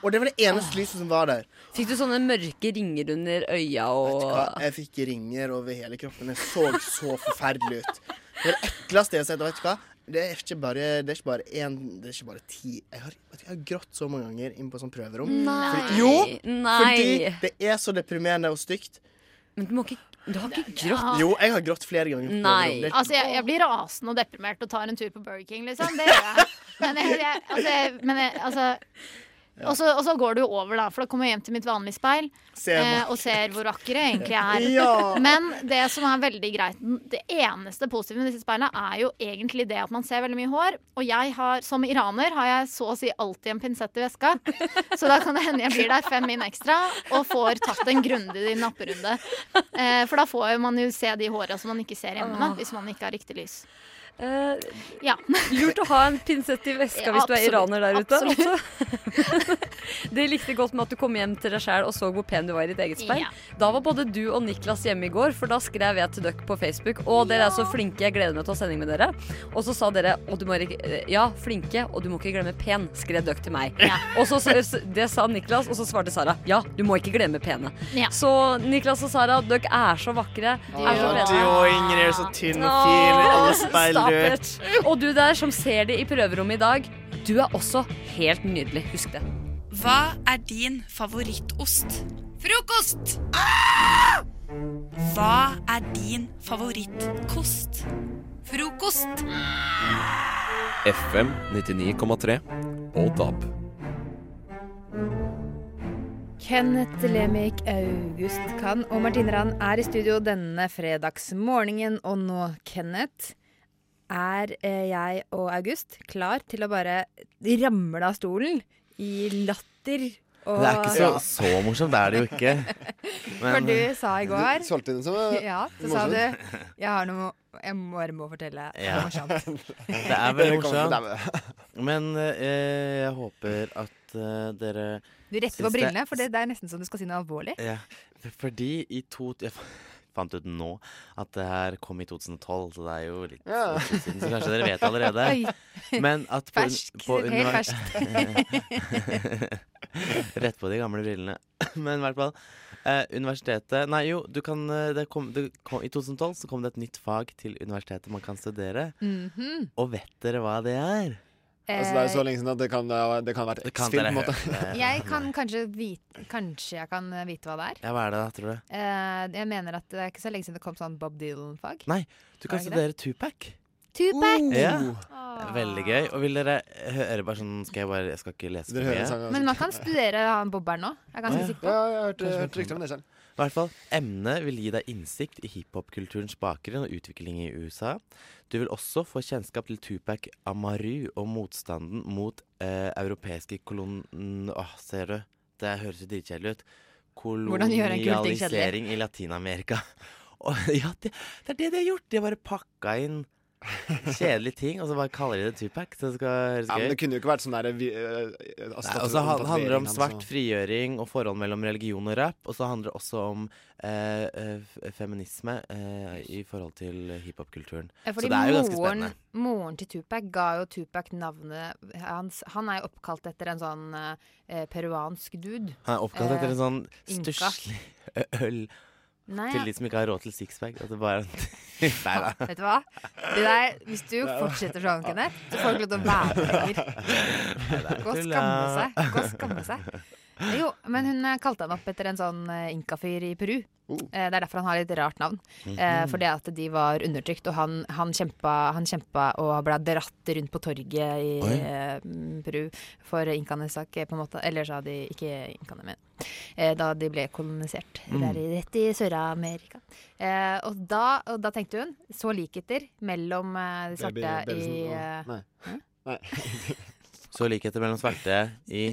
P: Og det var det eneste lyset som var der.
F: Fikk du sånne mørke ringer under øya og
P: Ja, jeg fikk ringer over hele kroppen. Jeg så så forferdelig ut. Det var det ekleste jeg har sett. og Vet du hva? Det er ikke bare Det er ikke bare én, det er ikke bare ti. Jeg har, vet du, jeg har grått så mange ganger inne på sånn prøverom.
F: Nei.
P: Fordi, jo!
F: Nei.
P: Fordi det er så deprimerende og stygt.
F: Men du må ikke Du har ikke
O: grått?
P: Jo, jeg har grått flere ganger. på prøverom. Det er-
O: Altså, jeg, jeg blir rasende og deprimert og tar en tur på Burger King, liksom. Det gjør jeg. Men, jeg, jeg, altså, jeg, men jeg, altså og så, og så går det jo over, da, for da kommer jeg hjem til mitt vanlige speil
P: Ser
O: eh,
P: vakkert.
O: og ser hvor vakker jeg egentlig er.
P: Ja.
O: Men det som er veldig greit Det eneste positive med disse speilene er jo egentlig det at man ser veldig mye hår. Og jeg har, som iraner har jeg så å si alltid en pinsett i veska. Så da kan det hende jeg blir der fem min ekstra og får tatt en grundig napperunde. Eh, for da får jo man jo se de håra som man ikke ser hjemme,
F: Ah.
O: da, hvis man ikke har riktig lys.
F: Eh,
O: ja.
F: Lurt å ha en pinsett i veska
O: Ja,
F: hvis du er
O: absolutt.
F: iraner der ute.
O: Absolutt.
F: altså. det likte godt med at du kom hjem til deg sjæl og så hvor pen du var i ditt eget speil.
O: Ja.
F: Da var både du og Niklas hjemme i går, for da skrev jeg til dere på Facebook Å, dere er så flinke, jeg gleder meg til å ha sending med dere. Og så sa dere å, du må ikke, ja, flinke, og du må ikke glemme pen, skrev dere til meg. Og så, så- det sa Niklas, og så svarte Sara ja, du må ikke glemme pene.
O: Ja.
F: Så Niklas og Sara, dere er så vakre. Er så pene.
P: du og Ingrid er så tynn og fin i alle
F: Åh,
P: speil, du.
F: stop it. Og du der som ser det i prøverommet i dag, du er også helt nydelig. Husk det.
Q: Hva er din favorittost? Frokost! Hva er din favorittkost? Frokost!
A: FM 99,3 og DAB.
B: Kenneth Lemik August Kann og Martine Rand er i studio denne fredagsmorgenen. Og nå, Kenneth, er eh, jeg og August klar til å bare ramle av stolen i latter. Og
D: Det er ikke så, så morsomt, det er det jo ikke.
B: For du sa i går
D: Du solgte den som, eh,
B: Ja, så sa du
D: morsomt.
B: Jeg har noe Jeg bare må fortelle. Det
D: eh, Ja.
B: er morsomt.
D: Det er veldig
C: Det kommer til
D: morsomt. Men eh, jeg håper at eh, dere
B: Du retter på
D: syns det-
B: brillene, for det, det er nesten som du skal si noe alvorlig.
D: Ja, f- fordi i to Jeg fant ut nå at det her kom i 2012, så det er jo litt
B: Ja.
D: litt siden, så kanskje dere vet det allerede.
B: Oi.
D: Men at på,
B: Ferskt,
D: på
B: helt
D: univer-
B: ferskt.
D: Rett på de gamle brillene. Men i hvert fall. Eh, universitetet Nei, jo, du kan eh, det kom, det kom, I 2012 så kom det et nytt fag til universitetet man kan studere.
B: Mhm.
D: Og vet dere hva det er?
B: Altså, det er jo så
D: lenge siden at det kan, ha vært
C: X-Film, på en måte.
B: Jeg kan kanskje vite Kanskje jeg kan eh, vite hva det er.
D: Ja, hva er det da, tror du?
B: Eh, jeg mener at det er ikke så lenge siden det kom sånn Bob Dylan-fag.
D: Nei, du
B: Var det
D: kan
B: ikke
D: studere
B: det?
D: Tupac.
B: Tupac!
D: Ja. Veldig gøy. Og vil dere høre bare sånn Skal jeg bare Jeg skal ikke lese
C: Dere hører en sang,
B: Men man kan studere han bobberen nå. Jeg er ganske sikker på.
C: jeg har hørt, eh, jeg har hørt rykter om det selv.
D: I hvert fall, Emnet vil gi deg innsikt i hiphopkulturens bakgrunn og utvikling i USA. Du vil også få kjennskap til Tupac Amaru og motstanden mot eh, europeiske kolon... Åh, ser du? Det høres jo dritkjedelig ut.
B: Hvordan gjøre en kul ting kjedelig?
D: Kolonialisering i Latin-Amerika. Og, ja, det, det er det de har gjort! De har bare pakka inn kjedelige ting, og så bare kaller de det Tupac. Så det skal høres
C: Ja,
D: gøy
C: men det kunne jo ikke vært sånn der vi, eh, altså,
D: Nei, og så han-
C: tatovering,
D: handler det om
C: altså.
D: svart frigjøring og forhold mellom religion og rap. Og så handler det også om eh, eh, f- feminisme eh, i forhold til hiphop-kulturen.
B: Ja,
D: så
B: fordi
D: det er jo ganske
B: moren,
D: spennende.
B: moren til Tupac ga jo Tupac navnet hans Han er jo oppkalt etter en sånn eh, peruansk dude.
D: Han er oppkalt etter en
B: Eh,
D: sånn
B: Inka.
D: stusslig øl
B: Nei, ja.
D: til de som ikke har råd til sixpack. At det bare Nei da.
B: Vet du hva? Det der, hvis du fortsetter sånn, Kenneth, så får du ikke lov til å være med lenger. Gå og skamme seg. Gå og skamme seg. Jo, men hun eh, kalte han opp etter en sånn eh, inkafyr i Peru. Eh, Det er derfor han har litt rart navn.
F: Oh.
B: Eh,
F: Mhm.
B: Fordi at de var undertrykt, og han, han, kjempa, han kjempa og ble dratt rundt på torget i
F: Oi.
B: eh, mm, Peru for inkaenes sak, eh, på en måte. Eller sa de ikke inkaene, men eh, da de ble kolonisert.
F: Mm.
B: Der, i- rett i Sør-Amerika. Eh, og, da, og da tenkte hun så likheter mellom eh, de
C: Baby
B: svarte
D: liksom
B: i,
C: Bevisen og-
B: eh,
C: Nei.
D: Så likheter mellom svarte i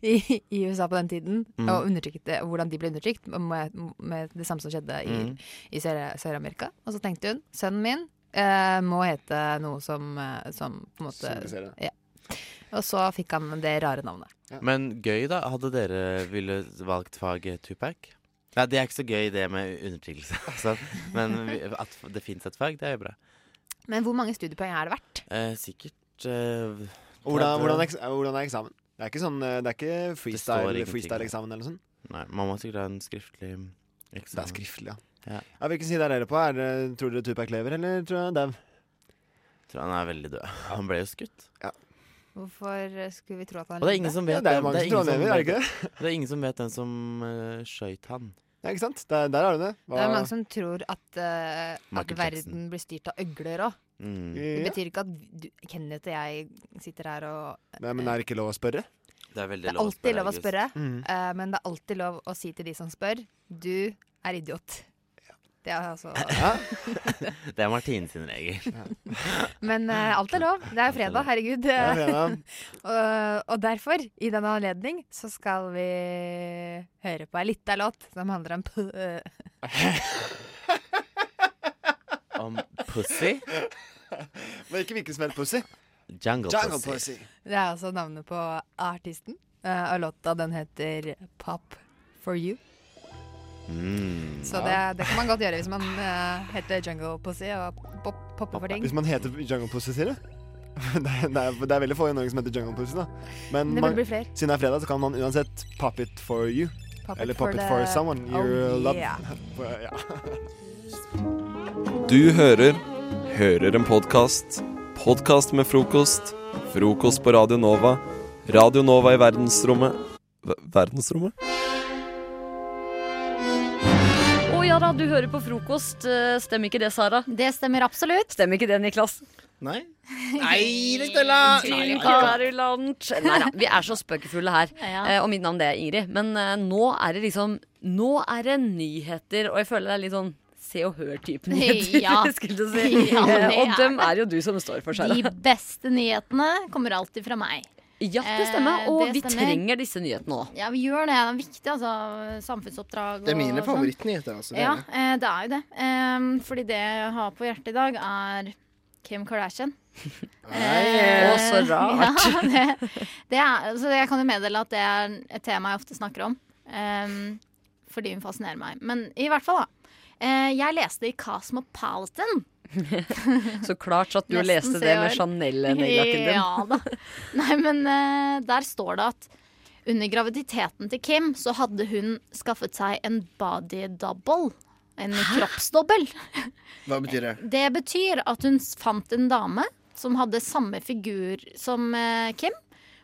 B: i, i USA på den tiden,
D: Mm.
B: og undertrykt, hvordan de ble undertrykt med, med det samme som skjedde i,
D: Mm.
B: i Sør- Sør-Amerika. og så tenkte hun sønnen min eh, må hete noe som, eh, som på en måte
D: Symboliserer.
B: ja. Og så fikk han det rare navnet.
D: Men gøy, da. Hadde dere ville valgt faget Tupac? Nei, det er ikke så gøy, det med undertrykkelse. altså. Men vi- at det fins et fag, det er jo bra.
B: Men hvor mange studiepoeng er det verdt?
D: Eh, sikkert eh,
C: Og Hvordan,
D: 30.
C: hvordan, eks- hvordan er eksamen? Det er ikke, sånn, eh, det er ikke
D: står
C: freestyle,
D: ingenting.
C: freestyle-eksamen eller noe sånt?
D: Nei, man må sikkert ha en skriftlig eksamen.
C: Det er skriftlig, ja.
D: ja.
C: Ja, Hvilken side er dere på? Er, det- tror dere Tupac lever, eller tror dere han er dau?
D: Tror han er veldig død. Han ble jo skutt.
B: Hvorfor eh, skulle vi tro at han
D: Og det er ingen som vet
C: Det er
D: hvem-
C: jo mange som
D: ingen
C: tror han lever, er det
D: vet-
C: ikke
D: det er ingen som vet hvem som uh, skøyt han.
C: Ja, ikke sant? Der, der har du det.
B: Det er mange som tror at, eh, at
D: Michael Jackson.
B: verden blir styrt av øgler òg.
D: Mm.
B: Det
C: Ja.
B: betyr ikke at du, Kenneth og jeg sitter her og
C: Nei, men er det ikke lov å spørre?
D: Det er
B: Det er alltid lov å spørre,
C: Mm.
B: eh, men det er alltid lov å si til de som spør, du er idiot. Det er altså
D: det er Martine sin regel.
B: Men eh, alt er lov. Det er jo fredag, herregud.
D: er fredag.
B: og, og derfor, i denne anledning, så skal vi høre på ei lita låt som handler om p- eh,
D: Om pussy.
C: Men ikke hvilken som helst pussy.
D: Jungle,
C: Jungle
D: pussy.
C: pussy.
B: Det er altså navnet på artisten. eh, og låta den heter Pop for you.
D: Mm.
B: Så det, det kan man godt gjøre hvis man eh, heter Jungle Pussy og pop, popper for ting.
C: Hvis man heter Jungle Pussy, sier du? Det er, det, er, det er veldig få i Norge som heter Jungle Pussy, da. Men
B: Det burde
C: man-
B: bli flere.
C: siden det er fredag, så kan man uansett pop it for you.
B: Pop it
C: Eller pop
B: for
C: it
B: the-
C: for someone you
B: Oh,
C: love.
B: yeah.
C: For- ja.
A: Du hører Hører en podkast. Podkast med frokost. Frokost på Radio Nova. Radio Nova i verdensrommet Ver- Verdensrommet?
F: Å ja da, du hører på frokost. Eh, Stemmer ikke det, Sara?
O: Det stemmer absolutt.
F: Stemmer ikke det, Niklas?
D: Nei.
F: Nei,
P: Stella! Nei,
F: Nei da, vi er så spøkefulle her.
O: Ja.
F: Eh, Og mitt navn det er Ingrid. Men eh, nå er det liksom Nå er det nyheter, og jeg føler det er litt sånn Se og Hør-typen nyheter.
O: Ja.
F: skulle jeg si.
O: Ja, det
F: Eh, og
O: er
F: dem er jo du som står for, Sara.
O: De beste nyhetene kommer alltid fra meg.
F: Ja, det
O: Eh,
F: stemmer. Og
O: det
F: vi
O: stemmer.
F: trenger disse nyhetene òg.
O: Ja, vi gjør det. Det er viktig, altså. Samfunnsoppdrag
P: Det er mine
O: og sånn.
P: favorittnyheter, altså. Det
O: Ja,
P: er det.
O: eh, det er jo det. Em, Fordi det jeg har på hjertet i dag, er Kim Kardashian.
F: Å,
O: Eh,
F: så rart.
O: Ja, det, det er, så jeg kan jo meddele at det er et tema jeg ofte snakker om. em, fordi hun fascinerer meg. Men i hvert fall, da. Eh, jeg leste i Cosmopolitan.
F: Så klart at du
O: Nesten
F: leste
O: se
F: det med
O: år.
F: Chanel-neglejakken din.
O: Ja da. Nei, men eh, der står det at under graviditeten til Kim så hadde hun skaffet seg en body double. En kroppsdobbel.
P: Hva betyr det?
O: Det betyr at hun s- fant en dame som hadde samme figur som eh, Kim.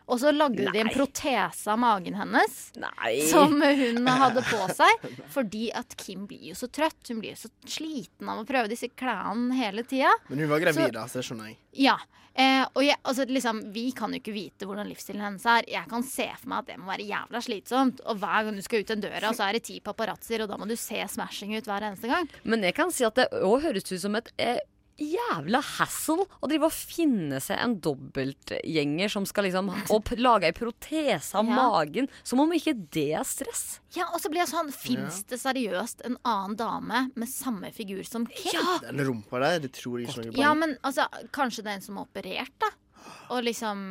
O: Og så lagde de en
F: Nei.
O: protese av magen hennes
F: Nei.
O: som hun hadde på seg. Fordi at Kim blir jo så trøtt. Hun blir jo så sliten av å prøve disse klærne hele tida.
P: Men hun var gravid, da, så det skjønner jeg.
O: Ja. Eh, og jeg, altså, liksom, vi kan jo ikke vite hvordan livsstilen hennes er. Jeg kan se for meg at det må være jævla slitsomt. Og hver gang du skal ut den døra, så er det ti paparazzoer, og da må du se smashing ut hver eneste gang.
F: Men jeg kan si at det òg høres ut som et eh, jævla hassle å drive og finne seg en dobbeltgjenger som skal liksom opp, lage ei protese av
O: Ja.
F: magen. Som om ikke det er stress.
O: Ja, og så blir jeg sånn Fins det seriøst en annen dame med samme figur som Kim?
P: Den rumpa der, det tror jeg ikke noe på.
O: Ja, men altså, kanskje det er en som har operert, da. Og liksom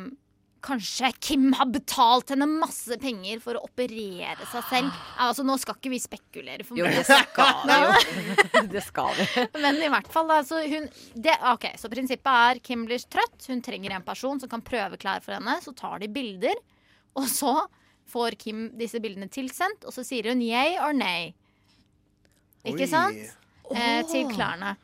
O: Kanskje Kim har betalt henne masse penger for å operere seg selv. Altså, Nå skal ikke vi spekulere for
F: Ah. Jo,
O: mye.
F: det skal vi jo. Det skal vi.
O: Men i hvert fall, altså hun det, Ok, så prinsippet er Kim blir trøtt, hun trenger en person som kan prøve klær for henne, så tar de bilder, og så får Kim disse bildene tilsendt, og så sier hun yay or nay. Ikke
P: Oi.
O: sant? Eh, til klærne.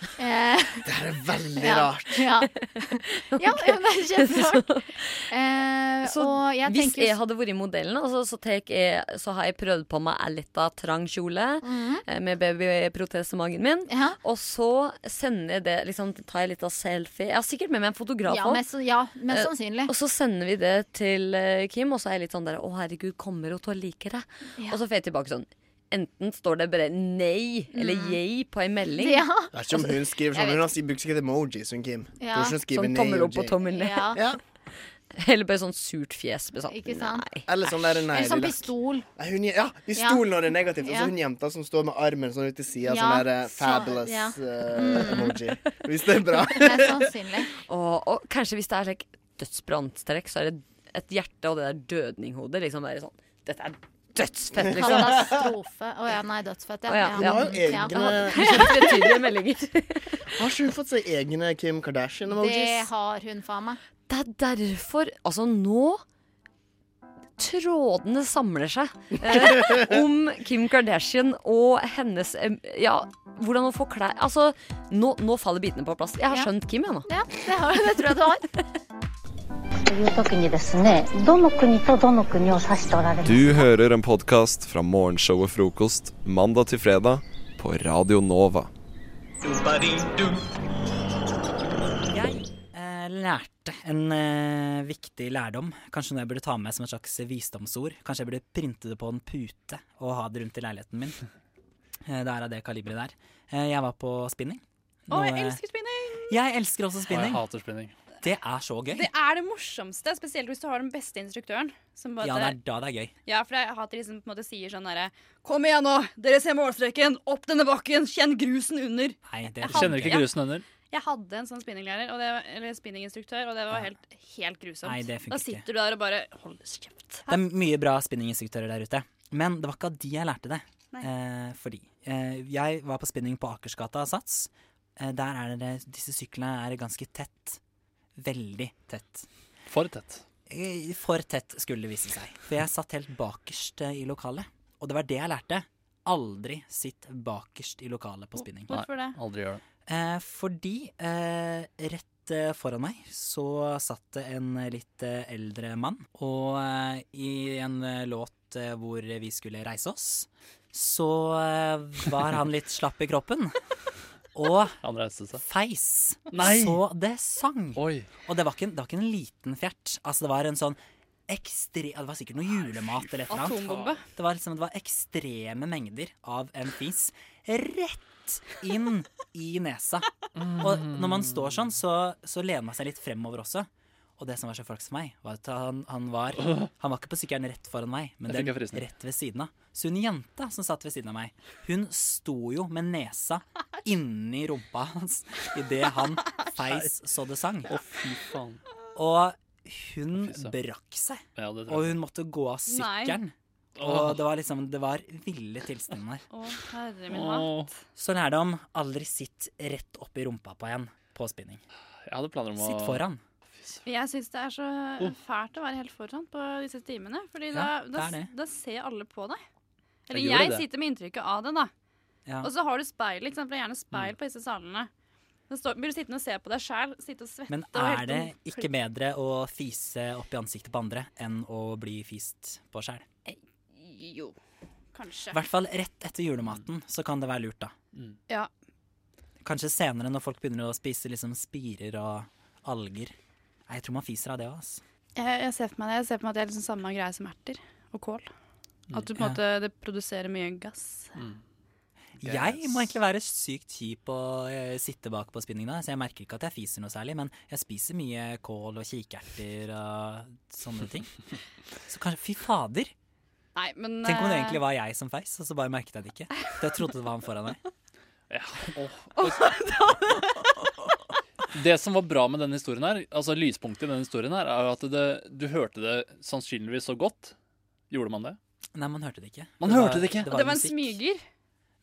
O: Eh,
P: Det her er veldig
O: ja,
P: rart.
O: Ja. ja, ja, det er kjemperart. Eh,
F: Så
O: og jeg
F: hvis
O: tenker
F: jeg hadde vært modellen, altså, så, tek jeg, så har jeg prøvd på meg en lita trang kjole
O: Mhm.
F: eh, med babyprotese i magen min, og så sender jeg det liksom, tar jeg litt av selfie. Jeg har sikkert med meg en fotograf
O: ja,
F: også.
O: mest, ja, mest
F: Eh,
O: sannsynlig.
F: Og så sender vi det til eh, Kim, og så er jeg litt sånn der Å, herregud, kommer hun til å like det?
O: Ja.
F: Og så får jeg tilbake sånn Enten står det bare nei eller
O: Mm.
F: yay på ei melding.
O: Ja.
P: Det er ikke om hun
F: Jeg
P: skriver sånn.
F: vet.
P: Hun har sikkert- bruker sikkert emojis, hun Kim. Det er
F: Ja.
P: ikke hun skriver
F: Sånn
P: nei
F: tommel
P: og
F: opp og
P: J.
F: tommel ned.
O: Ja.
F: Eller bare sånn surt fjes. Med sånn,
O: Ikke sant?
F: Nei.
P: Eller sånn der, nei,
O: Eller sånn
P: lille-
O: pistol.
P: Nei, hun, ja, pistol når det er negativt. Og
O: Ja.
P: så hun jenta som står med armen sånn ut til sida,
O: Ja,
P: sånn der eh,
O: så-
P: fabulous
O: ja.
P: eh,
O: Mm. sånn
P: emoji. Hvis det er bra.
O: Mest sannsynlig.
F: Og, og kanskje hvis det er slik dødsbrannstrekk, så er det et hjerte og det der dødninghode. Liksom bare sånn Dette er dødsfett, liksom.
O: Mm. Katastrofe. Å ja, nei, dødsfett.
F: Å ja,
O: Ja.
F: ja.
O: Ja.
P: Hun har jo
O: Ja.
P: egne-
F: Tydelige meldinger.
P: Har ikke hun fått seg egne Kim Kardashian-emojis?
O: Det har hun faen meg.
F: Det er derfor Altså, nå Trådene samler seg eh, om Kim Kardashian og hennes eh, Ja, hvordan hun får klær Altså, nå, nå faller bitene på plass. Jeg har
O: Ja.
F: skjønt Kim, jeg nå.
O: Ja, det, har, det tror jeg du har.
E: という時にですねどの国とどの国を指しておられます
A: Du hører en podkast fra morgenshowet Frokost mandag til fredag på Radio Nova.
R: Jeg eh, lærte en eh, viktig lærdom. Kanskje noe jeg burde ta med som et slags visdomsord. Kanskje jeg burde printe det på en pute og ha det rundt i leiligheten min. Eh, det er av det kaliberet der. Eh, jeg var på spinning.
L: Å, jeg
R: Noe-
L: elsker spinning!
R: Jeg elsker også
L: Å, jeg
R: spinning.
L: hater
R: spinning. Det er så gøy.
L: Det er det morsomste, spesielt hvis du har den beste instruktøren. Som
R: Ja, det er da det er gøy.
L: Ja, for jeg hater de som på en måte sier sånn derre Kom igjen nå! Dere ser målstreken! Opp denne bakken! Kjenn grusen under!
R: Nei, det
L: Jeg
R: er
L: Kjenner ikke hadde- grusen
R: under.
L: Jeg hadde en sånn spinninglærer, og det, eller spinninginstruktør, og det var helt, helt grusomt.
R: Nei, det funker
L: da
R: ikke.
L: sitter du der og bare Hold kjeft.
R: Det er mye bra spinninginstruktører der ute. Men det var ikke av de jeg lærte det.
L: Nei.
R: Eh, fordi eh, jeg var på spinning på Akersgata Sats. Eh, der er det, disse syklene er ganske tett. Veldig tett. For tett. For tett, skulle det vise seg. For jeg satt helt bakerst eh, i lokalet. Og det var det jeg lærte. Aldri sitt bakerst i lokalet på spinning.
L: hvorfor det?
R: Aldri gjør det. Eh, fordi eh, rett eh, foran meg så satt det en eh, litt eh, eldre mann. Og eh, i en eh, låt eh, hvor vi skulle reise oss, så eh, var han litt slapp i kroppen. Og feis
M: Nei.
R: så det sang. Og det var, ikke, en- det var ikke en liten fjert. Altså, det var en sånn ekstre... Det var sikkert noe julemat eller et eller annet.
L: Atombombe.
R: Det var, liksom, det var ekstreme mengder av en fis rett inn i nesa. Og
M: Mhm.
R: når man står sånn, så, så lener man seg litt fremover også. Og det som var så flaks for meg, var at han, han, var, han var ikke på sykkelen rett foran meg, men
M: Jeg fikk
R: den
M: en frysning.
R: rett ved siden av. Så hun jenta som satt ved siden av meg, hun sto jo med nesa inni rumpa hans idet han feis så det sang. Å, fy faen. Og hun brakk seg.
M: det tror jeg.
R: og hun måtte gå av sykkelen. Og det var liksom Det var ville tilstander.
L: Å, herre min hatt.
R: Så lærdom aldri sitt rett opp i rumpa på en på spinning.
M: Jeg hadde planer om å
R: Sitt foran.
L: Jeg syns det er så
R: Oh.
L: fælt å være helt foran på disse timene. Fordi
R: Ja,
L: da, da,
R: det er det.
L: da ser alle på deg.
R: Jeg
L: Eller
R: gjør
L: jeg
R: det.
L: sitter med inntrykket av det, da.
R: Ja. Mm.
L: Og så har du speil, ikke sant? for det er gjerne speil på disse salene. Da står, blir du sittende og se på deg sjæl, sitte og svette
R: Men
L: og
R: er
L: helt
R: det
L: sånn-
R: ikke bedre å fise opp i ansiktet på andre enn å bli fist på sjæl?
L: Jo, kanskje.
R: I hvert fall rett etter julematen, så kan det være lurt, da.
L: Ja.
R: Kanskje senere, når folk begynner å spise liksom spirer og alger. Nei, Jeg tror man fiser av det òg, altså.
L: Jeg, jeg ser for meg det. Jeg ser for meg at det er liksom samme greie som erter og kål.
R: Mm,
L: At du på en måte, det produserer mye gass.
R: Jeg må egentlig være sykt kjip og eh, sitte bak på spinning, da, så jeg merker ikke at jeg fiser noe særlig. Men jeg spiser mye kål og kikerter og sånne ting. Så kanskje Fy fader!
L: Nei, men
R: Tenk om det
L: eh,
R: egentlig var jeg som feis, og så bare merket jeg det ikke. For jeg trodde det var han foran meg.
M: Det som var bra med denne historien her, altså lyspunktet i denne historien her, er jo at det, du hørte det sannsynligvis så godt. Gjorde man det?
R: Nei, man hørte det ikke.
M: Man
R: var-
M: hørte det ikke?
L: Det var, en
R: musikk.
L: smyger.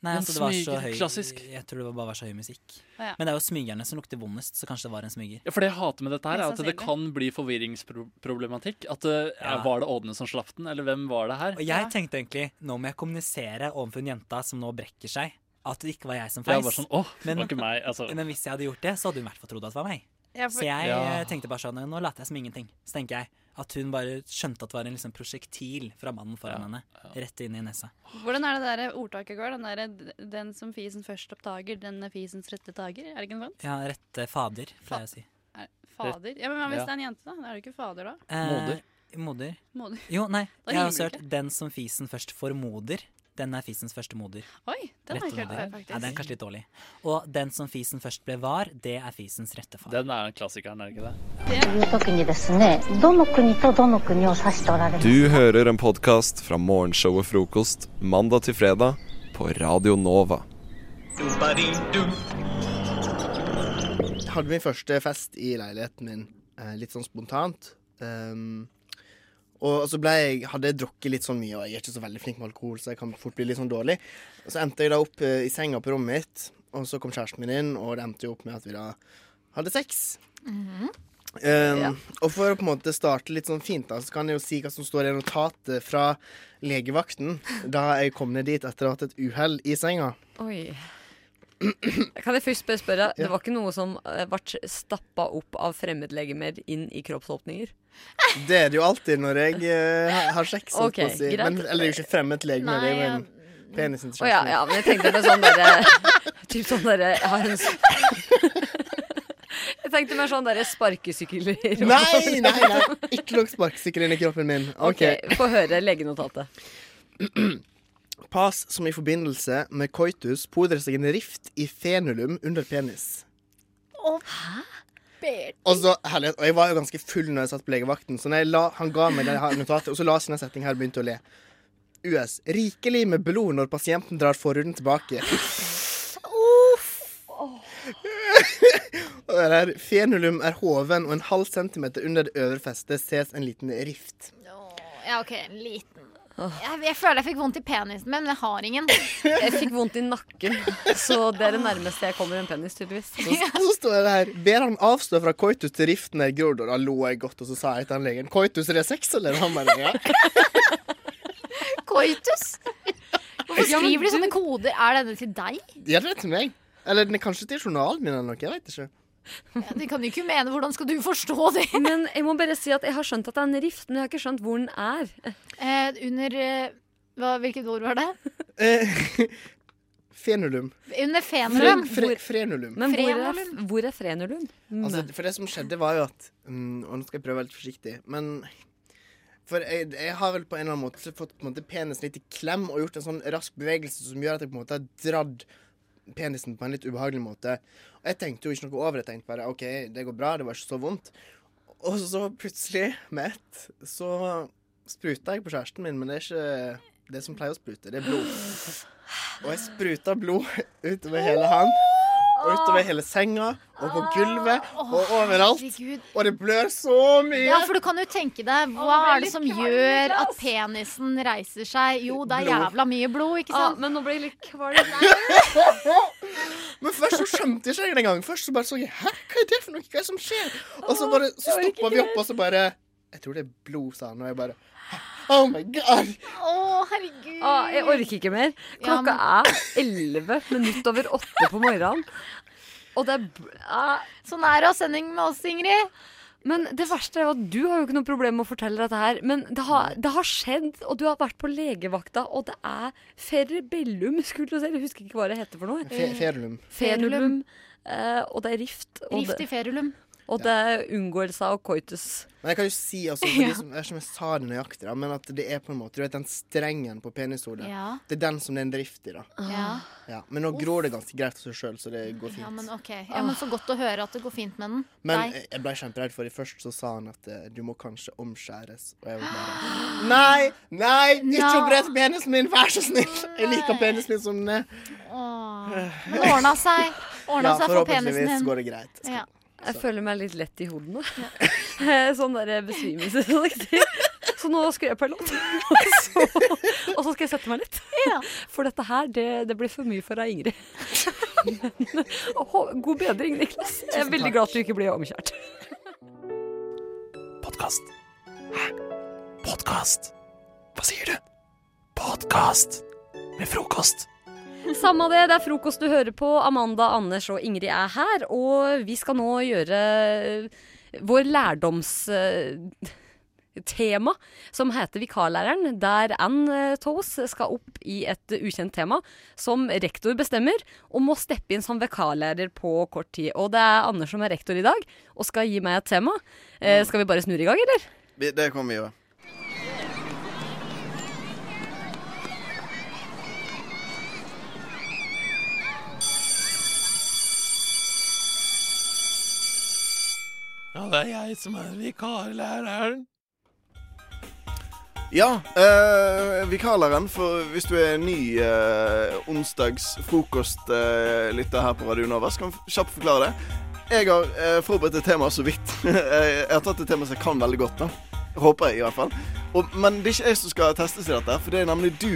R: Nei,
M: En
R: altså, det var så
M: smyger,
R: høy
M: klassisk.
R: Jeg tror det var- bare var så høy musikk.
L: Å, ja.
R: Men det er jo smygerne som lukter vondest, så kanskje det var en smyger.
M: Ja, for det jeg hater med dette her, er
R: Mest
M: at det kan bli forvirringsproblematikk. At eh,
R: Ja.
M: Var det Ådne som slapp den, eller hvem var det her?
R: Og jeg tenkte egentlig, nå må jeg kommunisere overfor en jenta som nå brekker seg, at det ikke var jeg som
M: Jeg
R: feis.
M: var sånn, åh, det var ikke meg,
R: men hvis jeg hadde gjort det, så hadde hun i hvert fall trodd at det var meg.
M: Ja, for-
R: Så jeg
M: Ja.
R: eh, tenkte bare sånn, nå later jeg som ingenting. Så tenker jeg at hun bare skjønte at det var en liksom prosjektil fra mannen foran henne, rett inn i nesa.
L: Hvordan er det der ordtaket går? Den, derre, den som fisen først oppdager, den er fisens rette tager. Er det ikke noe sånt?
R: Ja, rette fader, pleier jeg å si.
L: Er, fader? Ja, men Hva hvis
R: Ja.
L: det er en jente, da? Da er det ikke fader, da.
R: Eh,
M: Moder.
R: Moder.
L: Moder.
R: Jo, nei,
L: Da
R: jeg har
L: rimer
R: også
L: det
R: hørt den som fisen først formoder, den er fisens første moder.
L: Oi, den har jeg ikke hørt
R: moder.
L: før, faktisk.
R: Ja, den er kanskje litt dårlig. Og den som fisen først ble var, det er fisens rette far.
M: Den er klassikeren, er det ikke det?
E: という時にですねどの国とどの国を指しておられます
A: Du hører en podkast fra morgenshowet Frokost mandag til fredag på Radio Nova.
P: Jeg hadde min første fest i leiligheten min eh, litt sånn spontant. Ehm, og så ble jeg, hadde jeg drukket litt sånn mye, og jeg er ikke så veldig flink med alkohol, så jeg kan fort bli litt sånn dårlig. Og så endte jeg da opp eh, i senga på rommet mitt, og så kom kjæresten min inn, og det endte jo opp med at vi da hadde sex. Um, Og for å på en måte starte litt sånn fint, da, så kan jeg jo si hva som står i notatet fra legevakten da jeg kom ned dit etter å ha hatt et uhell i senga.
F: Oi. Kan jeg først bare spørre,
P: Ja.
F: det var ikke noe som eh, ble stappa opp av fremmedlegemer inn i kroppsåpninger?
P: Det er det jo alltid når jeg eh, har- har sex. holdt
F: Ok,
P: på å si.
F: greit.
P: Men, eller det er jo ikke fremmed legeme, det er jo en penisen til
F: Å ja,
P: kjæresten.
F: ja, men jeg tenkte det sånn derre Typ sånn derre Jeg har en s- Jeg tenkte mer sånn derre sparkesykler. sånn.
P: Nei, nei, nei. Ikke nok sparkesykkel inn i kroppen min.
F: OK, få høre legenotatet.
P: Pas som i forbindelse med coitus podrer seg en rift i fenulum under penis.
O: Hæ?
P: Og så, herlighet, og jeg var jo ganske full når jeg satt på legevakten, så når jeg la, han ga meg det her notatet, og så la jeg sin setning her og begynte å le. US. Rikelig med blod når pasienten drar forhuden tilbake. Og det her, Fenulum er hoven, og en halv centimeter under det øvre festet ses en liten rift.
O: Ja, OK, en liten. Jeg, jeg føler jeg fikk vondt i penisen min, men jeg har ingen.
F: Jeg fikk vondt i nakken, så det er det nærmeste jeg kommer en penis, tydeligvis.
P: Så, så står det her Ber han avstå fra coitus til riften er grodd, og da lo jeg godt, og så sa jeg til han legen Coitus, er det sex, eller? Han bare ja.
O: Koitus? Hvorfor
P: Ja, men
O: skriver de sånne koder? Er denne til deg?
P: Ja, det er til meg. Eller den er kanskje til journalen min eller noe, jeg vet ikke.
O: Ja, de kan jo ikke mene Hvordan skal du forstå det?
F: Men jeg må bare si at jeg har skjønt at det er en rift, men jeg har ikke skjønt hvor den er.
O: Eh, under eh, hva, Hvilket ord var det?
P: Eh, Fenulum.
O: Under fenrum.
P: Fre- fre- frenulum.
F: Men hvor er,
O: Frenulum.
F: hvor er frenulum?
P: Altså, for det som skjedde, var jo at mm, Og nå skal jeg prøve å være litt forsiktig, men For jeg, jeg har vel på en eller annen måte fått på en måte, penisen litt i klem og gjort en sånn rask bevegelse som gjør at jeg på en måte har dratt penisen på en litt ubehagelig måte. Og jeg tenkte jo ikke noe over det. Jeg tenkte bare OK, det går bra, det var ikke så vondt. Og så plutselig, med ett, så spruta jeg på kjæresten min, men det er ikke det som pleier å sprute, det er blod. Og jeg spruta blod utover hele han. Og utover hele senga, og på gulvet, og overalt. Og det blør så mye.
O: Ja, for du kan jo tenke deg Hva
F: Å,
O: er det
F: veldig
O: som
F: klar,
O: gjør at penisen reiser seg? Jo, det er
P: Blod.
O: jævla mye blod, ikke sant?
F: men nå ble jeg litt kvalm.
P: Men først så skjønte jeg ikke det engang. Først så bare så jeg Hæ, hva er det for noe? Hva er det som skjer? Og så bare Så stoppa vi opp, og så bare Jeg tror det er blod, sa han. Og jeg bare Oh my god.
O: Å, herregud.
F: Ah, jeg orker ikke mer.
O: Ja,
F: Klokka er elleve minutt over åtte på morgenen. Og det er bl- ah.
O: Sånn er det å ha sending med oss, Ingrid.
F: Men det verste er jo at du har jo ikke noe problem med å fortelle dette her. Men det har, det har skjedd, og du har vært på legevakta, og det er ferrebellum, skulle du si. Jeg husker ikke hva det heter for noe.
P: Fe- ferulum.
F: Ferulum. Eh, og det er rift. Og
O: Rift i
F: det-
O: ferulum.
F: Og det er unngåelse av coitus.
P: Men jeg kan jo si, altså, for de som, jeg vet ikke om jeg sa det nøyaktig, da, men at det er på en måte Du vet den strengen på penishodet?
O: Ja.
P: Det er den som det er en drift i, da.
O: Ja.
P: Ja, Men nå gror det ganske greit av seg sjøl, så det går fint.
O: Ja, men ok. Ja, men Så godt å høre at det går fint med den.
P: Men eh,
O: Nei.
P: jeg ble kjemperedd, for først så sa han at eh, du må kanskje omskjæres. Og jeg var bare Nei! Nei! Ikke
O: Ja.
P: opprett penisen min, vær så snill! Jeg liker penisen min som den er.
O: Åh. Men det ordna seg.
P: Ja,
O: Ordna seg for penisen
P: forhåpentligvis
O: din.
P: går det greit.
O: Ja.
F: Jeg føler meg litt lett i hodet nå. sånn der besvimelse. sånn riktig. Så nå skrur jeg på en låt, og så, og så skal jeg sette meg litt. For dette her, det, det blir for mye for deg, Ingrid. Men, åh, god bedring, Niklas. Jeg er
Q: Tusen
F: veldig
Q: takk.
F: glad at du ikke ble omkjært.
A: Podkast. Hæ? Podkast? Hva sier du? Podkast med frokost.
F: Samme det, det er frokost du hører på. Amanda, Anders og Ingrid er her, og vi skal nå gjøre eh, vår lærdomstema, som heter Vikarlæreren, der Ann eh, av oss skal opp i et ukjent tema som rektor bestemmer, og må steppe inn som vikarlærer på kort tid. Og det er Anders som er rektor i dag, og skal gi meg et tema. Eh, Skal vi bare snurre i gang, eller?
H: Vi- Det kommer vi gjøre.
S: Ja, det er jeg som er vikarlæreren.
H: Ja, eh, vikarlæreren, for hvis du er ny eh, onsdags frokostlytter her på Radio Nova, så kan jeg kjapt forklare det. Jeg har eh, forberedt et tema så vidt. jeg har tatt et tema som jeg kan veldig godt, da. Håper jeg, i hvert fall. Og, men det er ikke jeg som skal testes i dette, for det er nemlig du,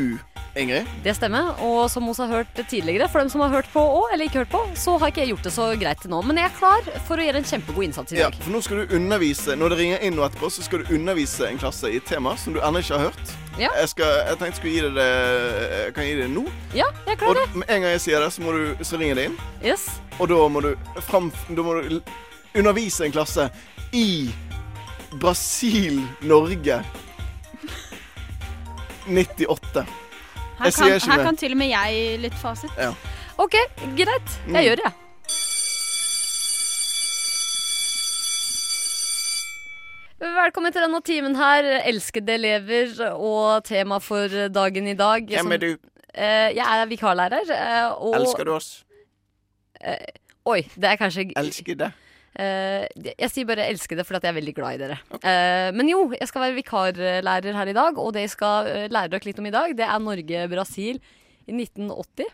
H: Ingrid?
F: Det stemmer. Og som vi har hørt tidligere, for dem som har hørt på òg, eller ikke hørt på, så har ikke jeg gjort det så greit til nå. Men jeg er klar for å gjøre en kjempegod innsats i
H: Ja,
F: dag.
H: for nå skal du undervise Når det ringer inn nå etterpå, så skal du undervise en klasse i et tema som du ennå ikke har hørt.
F: Ja.
H: Jeg, skal, jeg tenkte jeg skulle gi deg det Jeg kan gi deg det nå.
F: Ja, jeg
H: Og
F: klarer det.
H: med en gang jeg sier det, så, må du, så ringer det inn.
F: Yes.
H: Og da må du, fram, da må du l- undervise en klasse i Brasil-Norge 98.
G: Her
H: Jeg sier
G: kan,
H: ikke
G: her
H: mer.
G: kan til og med jeg litt fasit.
H: Ja.
F: OK, greit. Jeg
H: Mm.
F: gjør det, jeg. Velkommen til denne timen her, elskede elever, og tema for dagen i dag.
H: Hvem
F: som-
H: er du?
F: Eh, Jeg er vikarlærer. eh, Og
H: Elsker du oss?
F: Eh, oi, det er kanskje Eh,
H: Elsker det.
F: jeg sier bare 'elsker det' fordi at jeg er veldig glad i dere. Eh, men jo, jeg skal være vikarlærer her i dag, og det jeg skal eh, lære dere litt om i dag, det er Norge-Brasil i 1980.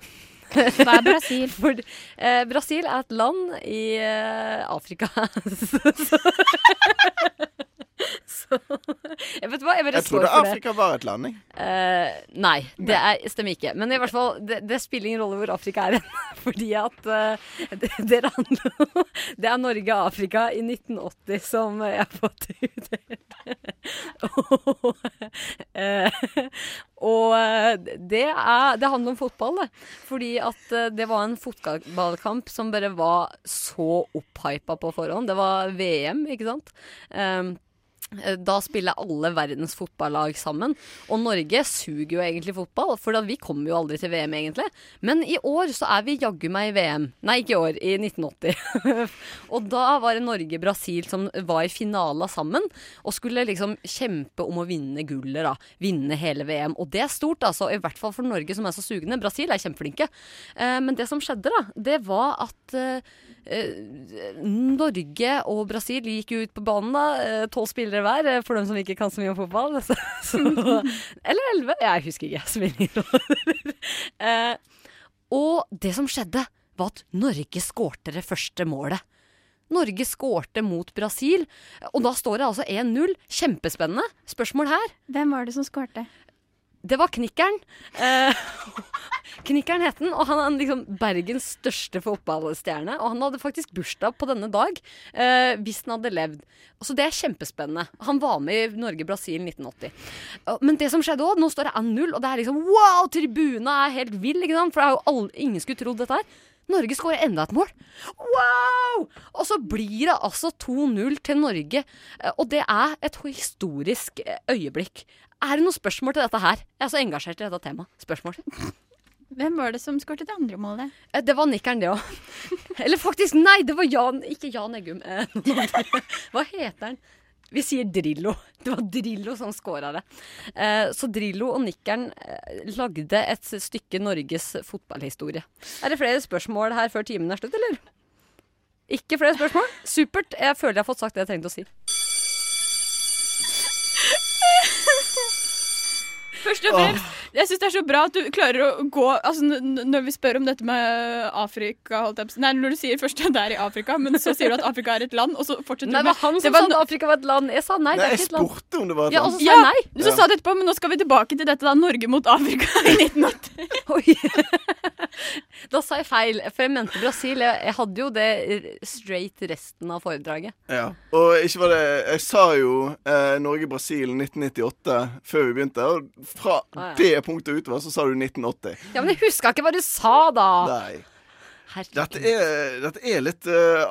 F: Hva er Brasil? For, eh, Brasil er et land i eh, Afrika. så, så, så, jeg vet hva, jeg bare
H: Jeg
F: står
H: trodde
F: for det.
H: Afrika var et land, jeg.
F: Eh, nei, det er, stemmer ikke. Men i hvert fall, det, det spiller ingen rolle hvor Afrika er hen. Fordi at eh, det, det, handler, om- det er Norge og Afrika i 1980 som jeg har fått utdelt. Eh, og eh, det, er, det handler om fotball, det. Fordi at eh, det var en fotballkamp som bare var så opphypa på forhånd. Det var VM, ikke sant? Um, Eh, da spiller alle verdens fotballag sammen. Og Norge suger jo egentlig fotball, for da- vi kommer jo aldri til VM, egentlig. Men i år så er vi jaggu meg i VM. Nei, ikke i år. I 1980. og da var det Norge-Brasil som var i finala sammen, og skulle liksom kjempe om å vinne gullet, da. Vinne hele VM. Og det er stort, altså. I hvert fall for Norge som er så sugne. Brasil er kjempeflinke. Eh, Men det som skjedde, da, det var at eh, eh, Norge og Brasil gikk jo ut på banen, da. Tolv spillere hver, eh, for dem som ikke kan så mye om fotball. Så, så, eller elleve. Jeg husker ikke. Jeg spiller ingen rolle. Eh, Og det som skjedde, var at Norge skårte det første målet. Norge skårte mot Brasil, og da står det altså 1-0. Kjempespennende. Spørsmål her.
G: Hvem var det som skårte?
F: Det var Knikkeren. Eh, Knikkeren het den, og han er liksom Bergens største fotballstjerne. Og han hadde faktisk bursdag på denne dag, eh, hvis han hadde levd. Så det er kjempespennende. Han var med i Norge-Brasil 1980. Eh, Men det som skjedde òg, nå står det 1-0, og det er liksom wow! Tribuna er helt vill, ikke sant? For det er jo all- ingen skulle trodd dette her. Norge skårer enda et mål. Wow! Og så blir det altså 2-0 til Norge. eh, Og det er et historisk eh, øyeblikk. Er det noen spørsmål til dette her? Jeg er så engasjert i dette temaet. Spørsmål.
G: Hvem var det som skårte det andre målet?
F: Eh, Det var nikkeren, det òg. Eller faktisk, nei, det var Jan Ikke Jan Eggum. eh, Hva heter han? Vi sier Drillo. Det var Drillo som scora det. Eh, Så Drillo og nikkeren eh, lagde et stykke Norges fotballhistorie. Er det flere spørsmål her før timen er slutt, eller? Ikke flere spørsmål? Supert. Jeg føler jeg har fått sagt det jeg trengte å si.
G: Først og fremst, jeg syns det er så bra at du klarer å gå altså, n- n- Når vi spør om dette med eh, Afrika holdt jeg, på å si- Nei, når du sier først at det er i Afrika, men så sier du at Afrika er et land, og så fortsetter
F: Nei,
G: du
F: det var han som sa at Afrika var et land. Jeg sa nei, det
H: Nei,
F: er
H: jeg
F: ikke et land.
H: spurte om det var et
F: Ja,
H: land.
F: og så sa jeg nei.
G: Så sa du etterpå, men nå skal vi tilbake til dette da, Norge mot Afrika i 1980.
F: Da sa jeg feil, for jeg mente Brasil. Jeg, jeg hadde jo det straight resten av foredraget.
H: Ja. Og ikke var det Jeg sa jo eh, Norge-Brasil 1998 før vi begynte, og fra
F: Ah, ja.
H: det punktet utover så sa du 1980.
F: Ja, Men jeg huska ikke hva du sa da!
H: Nei. Dette er, dette er litt eh,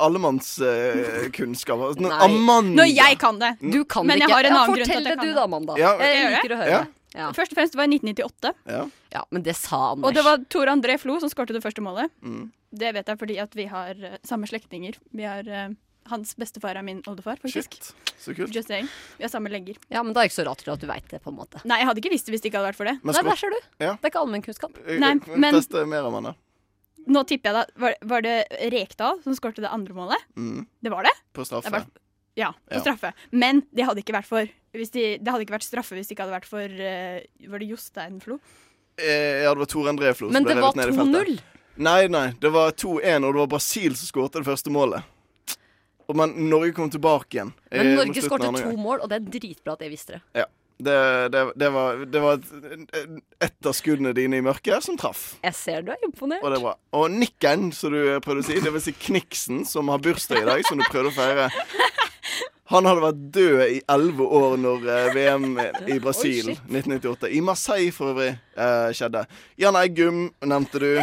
H: allemannskunnskap. Uh,
F: Nei.
H: Amanda
G: Når jeg kan det.
F: Mm. Du kan
G: men
F: det
G: jeg
F: ikke.
G: har en
F: Ja,
G: annen grunn til
F: fortell
G: at jeg
F: det
G: kan
F: du da, Amanda.
H: Ja,
F: Jeg
G: gjør det.
F: liker å høre
G: Ja.
F: det. Ja.
G: Først og fremst, det var i 1998.
H: Ja.
F: ja, men det sa Anders.
G: Og det var Tor André Flo som skårte det første målet.
H: Mm.
G: Det vet jeg fordi at vi har eh, samme slektninger. Vi har eh, Hans bestefar er min oldefar, faktisk.
H: Så kult.
G: Just saying. Vi har samme legger.
F: Ja, men da er det ikke så rart at du veit det, på en måte.
G: Nei, jeg hadde ikke visst det hvis det ikke hadde vært for det.
F: Nei, der ser du. Det er ikke allmennkunnskap.
H: Eh,
G: Nei, men-
H: Teste mer om henne.
G: Nå tipper jeg da Var, var det Rekdal som skårte det andre målet?
H: Mm.
G: Det var det?
H: På straffe.
G: Det var- ja, på
H: Ja.
G: straffe. Men det hadde ikke vært for hvis de, Det hadde ikke vært straffe hvis det ikke hadde vært for eh, Var det Jostein Flo?
H: Eh, Ja, det var Tor André Flo som
G: Men
H: ble
G: det
H: revet
G: var
H: ned i feltet. Nei, nei, det var 2-1, og det var Brasil som skåret det første målet. Og men Norge kom tilbake igjen. eh,
F: Men
H: mot
F: Norge
H: slutten av
F: skårte
H: andre
F: to
H: gang.
F: mål, og det er dritbra at jeg visste det.
H: Ja. Det, det, det, var, det var et- ett av skuddene dine i mørket som traff.
F: Jeg ser du er imponert.
H: Og det er bra. Og nikken, som du prøvde å si, det vil si Kniksen, som har bursdag i dag, som du prøvde å feire. Han hadde vært død i elleve år når eh, VM i Brasil
F: Oi, shit.
H: 1998 I Marseille, for øvrig, eh, skjedde. Jan Eggum nevnte du.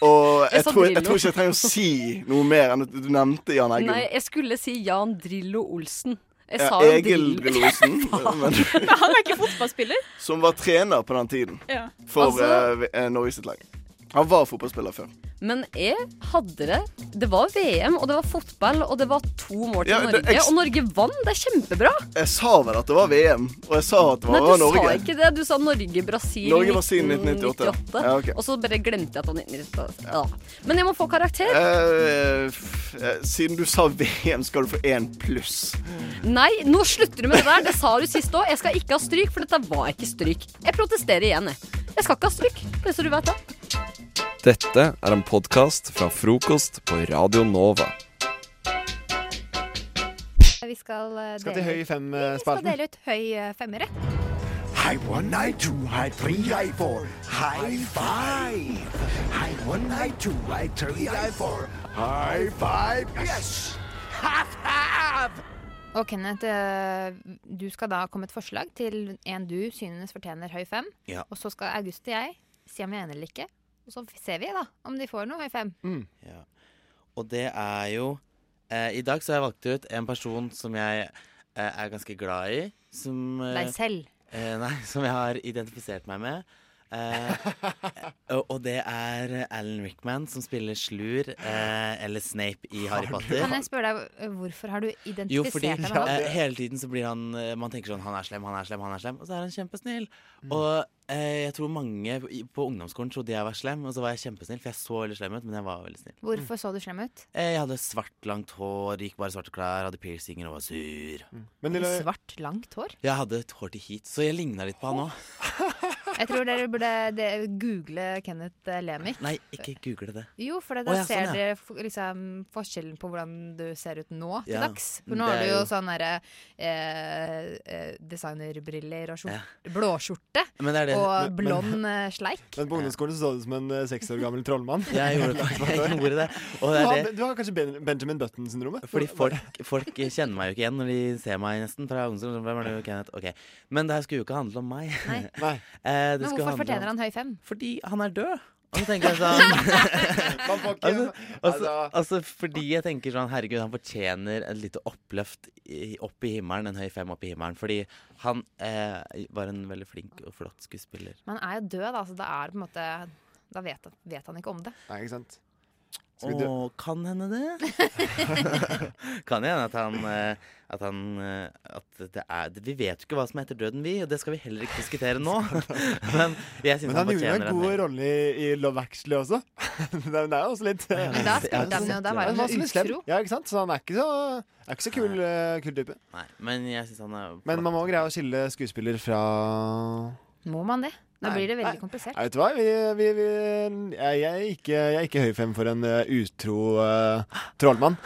H: Og jeg
F: Jeg sa
H: tror, jeg
F: Drillo.
H: tror ikke jeg trenger å si noe mer enn at du nevnte Jan Eggum.
F: Nei, jeg skulle si Jan Drillo Olsen. Jeg
H: Ja,
F: sa jo
H: Egil Drillo Olsen. men-
F: Han er ikke fotballspiller.
H: Som var trener på den tiden
F: Ja.
H: for
F: Altså-
H: eh, Norge sitt lag. Han var fotballspiller før.
F: Men jeg hadde det. Det var VM, og det var fotball, og det var to mål til
H: Ja, det-
F: Norge.
H: jeg-
F: Og Norge vant! Det er kjempebra.
H: Jeg sa vel at det var VM, og jeg sa at det
F: Nei,
H: var
F: du
H: Norge.
F: sa ikke det. Du sa Norge-Brasil
H: Norge, Brasil, 1998. Ja, ok.
F: Og så bare glemte jeg at det var 1998. Ja. Men jeg må få karakter.
H: Eh, f- eh, siden du sa VM, skal du få én pluss.
F: Nei, nå slutter du med det der. Det sa du sist òg. Jeg skal ikke ha stryk, for dette var ikke stryk. Jeg protesterer igjen, jeg. Jeg skal ikke ha stryk. Bare så du vet det.
A: Dette er en podkast fra frokost på Radio Nova.
B: Vi skal, eh,
C: Skal til
B: dele ut-
C: høy
B: Vi skal
C: fem-spalten.
B: dele ut høy eh, femmere.
T: Hei one, hei to, hei tre, hei four. High five! Hei one, hei to, hei tre, hei four. High five! Yes!
B: Og Kenneth, eh, du skal da komme et forslag til en du synes fortjener høy fem.
D: Ja.
B: Og så skal August og jeg si om vi er enige eller ikke. Og så ser vi da om de får noe høy fem.
D: Ja. Og det er jo eh, I dag så har jeg valgt ut en person som jeg eh, er ganske glad i. Som, eh,
B: Deg selv.
D: Eh, nei, som jeg har identifisert meg med. Eh, og, og det er Alan Rickman som spiller Slur, eh, eller Snape, i Harry Potter.
B: Kan jeg spørre deg, eh, hvorfor har du identifisert
D: Jo, fordi
B: deg med han?
D: eh, hele tiden så blir han eh, Man tenker sånn Han er slem, han er slem, han er slem. Og så er han kjempesnill. Og eh, jeg tror mange på, i- på ungdomsskolen trodde jeg var slem, og så var jeg kjempesnill, for jeg så veldig slem ut, men jeg var veldig snill.
B: Hvorfor så du slem ut?
D: Eh, Jeg hadde svart, langt hår, gikk bare i svarte klær, hadde piercinger og var sur.
B: Svart, langt hår?
D: Jeg hadde et hår til hit, så jeg ligna litt på han òg.
B: Jeg tror dere burde de- google Kenneth eh, Lemik.
D: Nei, ikke google det.
B: Jo, for da
D: Å, ja,
B: ser
D: sånn, ja.
B: dere f- liksom, forskjellen på hvordan du ser ut nå til
D: Ja,
B: dags. For
D: men
B: nå
D: det
B: har du
D: er
B: jo
D: jo-
B: sånne der, eh, eh, designerbriller og skjort,
C: Ja.
B: blåskjorte
D: Men det er det-
B: og
C: men-
B: blond eh, sleik.
C: Men på ungdomsskolen så, så du som en eh, seks år gammel trollmann.
D: Jeg gjorde det. Jeg gjorde det. Og det er
C: du, har,
D: det.
C: du har kanskje ben Benjamin Button-syndromet?
D: Fordi folk, folk kjenner meg jo ikke igjen når de ser meg nesten fra ungdomsskolen. Hvem er du, Kenneth? Ok. Men det her skulle jo ikke handle om meg.
B: Nei.
D: Eh, det
B: Men
D: skulle
B: hvorfor
D: handle
B: fortjener
D: om-
B: han høy fem?
D: Fordi han er død. Og så tenker jeg sånn altså, altså, altså fordi jeg tenker sånn Herregud, han fortjener et lite oppløft i, opp i himmelen. En høy fem opp i himmelen. Fordi han eh, var en veldig flink og flott skuespiller.
B: Men han er jo død, da, så da er det på en måte Da vet, han- vet han ikke om det.
C: Nei, ikke sant? Skal vi dø-
D: Og kan hende det. kan hende at han eh, At han eh, At det er Vi vet jo ikke hva som er etter døden, vi. Og det skal vi heller ikke diskutere nå. Men jeg
C: Men
D: syns han
C: han gjorde
D: fortjener
C: en
D: en
C: god rolle i, i Love Actually også. det er det er jo også litt eh,
B: Men da spilte han jo- da var han jo
C: så litt slem.
B: utro.
C: Ja, ikke sant? Så han er ikke så, er ikke så kul, eh, kul type.
D: Nei, men jeg syns han er
C: Men man må greie å skille skuespiller fra
B: Må man det? Da
C: Nei.
B: blir det veldig
C: Nei.
B: komplisert.
C: Nei, vet du hva? Vi, vi, vi, jeg, jeg, er ikke, jeg er ikke høy fem for en eh, utro eh, trollmann.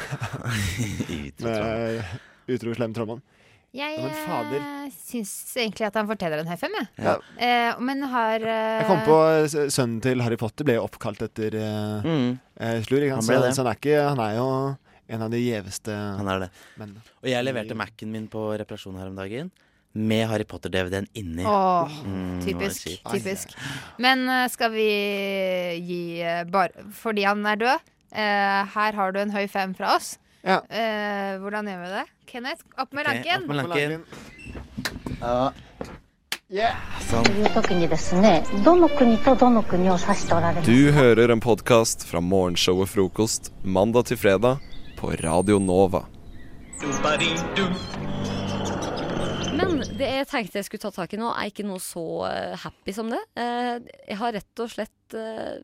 C: Med, utro slem trollmann.
B: Jeg
C: Ja, men fader.
B: eh, syns egentlig at han fortjener en høy fem, jeg.
C: Ja.
B: Eh, men har eh,
C: Jeg kom på eh, s- sønnen til Harry Potter ble jo oppkalt etter eh,
D: Mm.
C: eh, Slur. Ikke?
D: Han
C: sant?
D: ble
C: Så-
D: det.
C: Så han er, ikke, han er jo en av de gjeveste
D: Han er det.
C: mennene.
D: Og jeg
C: Mm.
D: leverte Mac-en min på reparasjon her om dagen. Med Harry Potter-DVD-en inni.
B: Åh,
D: Mm, det var
B: typisk.
D: kjipt.
B: typisk. Men eh, skal vi gi eh, bare Fordi han er død, eh, her har du en høy fem fra oss.
C: Ja.
B: Eh, hvordan gjør vi det? Kenneth, opp med
D: Ok,
B: ranken!
D: opp med lanken. Ja,
E: という時にですねどの国とどの国を指しておられます
A: Du hører en podkast fra morgenshowet Frokost mandag til fredag på Radio Nova.
F: Men det jeg tenkte jeg skulle ta tak i nå, er ikke noe så eh, happy som det. Eh, jeg har rett og slett eh,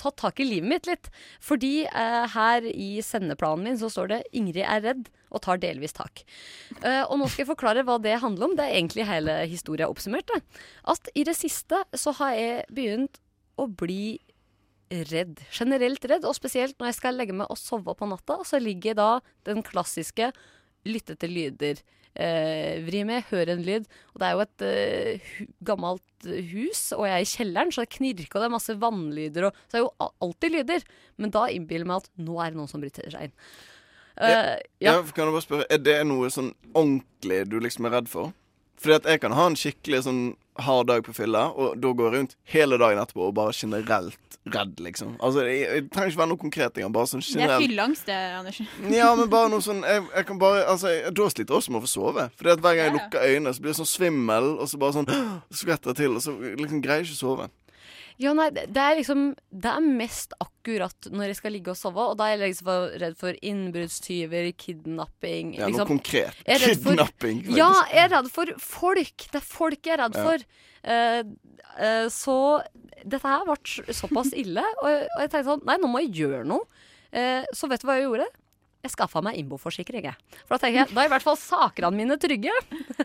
F: tatt tak i livet mitt litt. Fordi eh, her i sendeplanen min så står det 'Ingrid er redd' og tar delvis tak. Eh, og nå skal jeg forklare hva det handler om. Det er egentlig hele historia oppsummert. det. At i det siste så har jeg begynt å bli redd. Generelt redd, og spesielt når jeg skal legge meg og sove på natta, så ligger jeg da den klassiske lytte til lyder. Eh, vri med, hør en lyd. Og det er jo et eh, hu gammelt eh, hus, og jeg er i kjelleren, så det knirker, og det er masse vannlyder, og så det er jo a- alltid lyder. Men da innbiller jeg meg at nå er det noen som bryter seg inn. Eh,
H: ja. for kan jeg bare spørre, Er det noe sånn ordentlig du liksom er redd for? Fordi at jeg kan ha en skikkelig sånn hard dag på fylla, og da går jeg rundt hele dagen etterpå og bare generelt redd, liksom. Altså, jeg, jeg trenger ikke være noe konkret engang, bare sånn
G: Det er
H: generelt.
G: fylleangst, det, Anders.
H: Ja, men bare noe sånn jeg, jeg kan bare, altså, jeg, Da sliter jeg også med å få sove. Fordi at hver gang jeg lukker øynene, så blir det sånn svimmel, og så bare sånn skvetter jeg til, og så liksom greier jeg ikke å sove.
F: Ja, nei, det det er liksom Det er mest akkurat når jeg skal ligge og sove, og da er jeg liksom for- redd for innbruddstyver, kidnapping
H: Ja, noe
F: liksom.
H: konkret.
F: Jeg er redd for-
H: Kidnapping, faktisk.
F: Ja, jeg er redd for folk. Det er folk jeg er redd
H: Ja.
F: for. Eh, eh, så dette her ble s- såpass ille, og jeg, og jeg tenkte sånn Nei, nå må jeg gjøre noe. Eh, så vet du hva jeg gjorde? Jeg skaffa meg innboforsikring, jeg. For da tenker jeg, da er i hvert fall sakene mine trygge.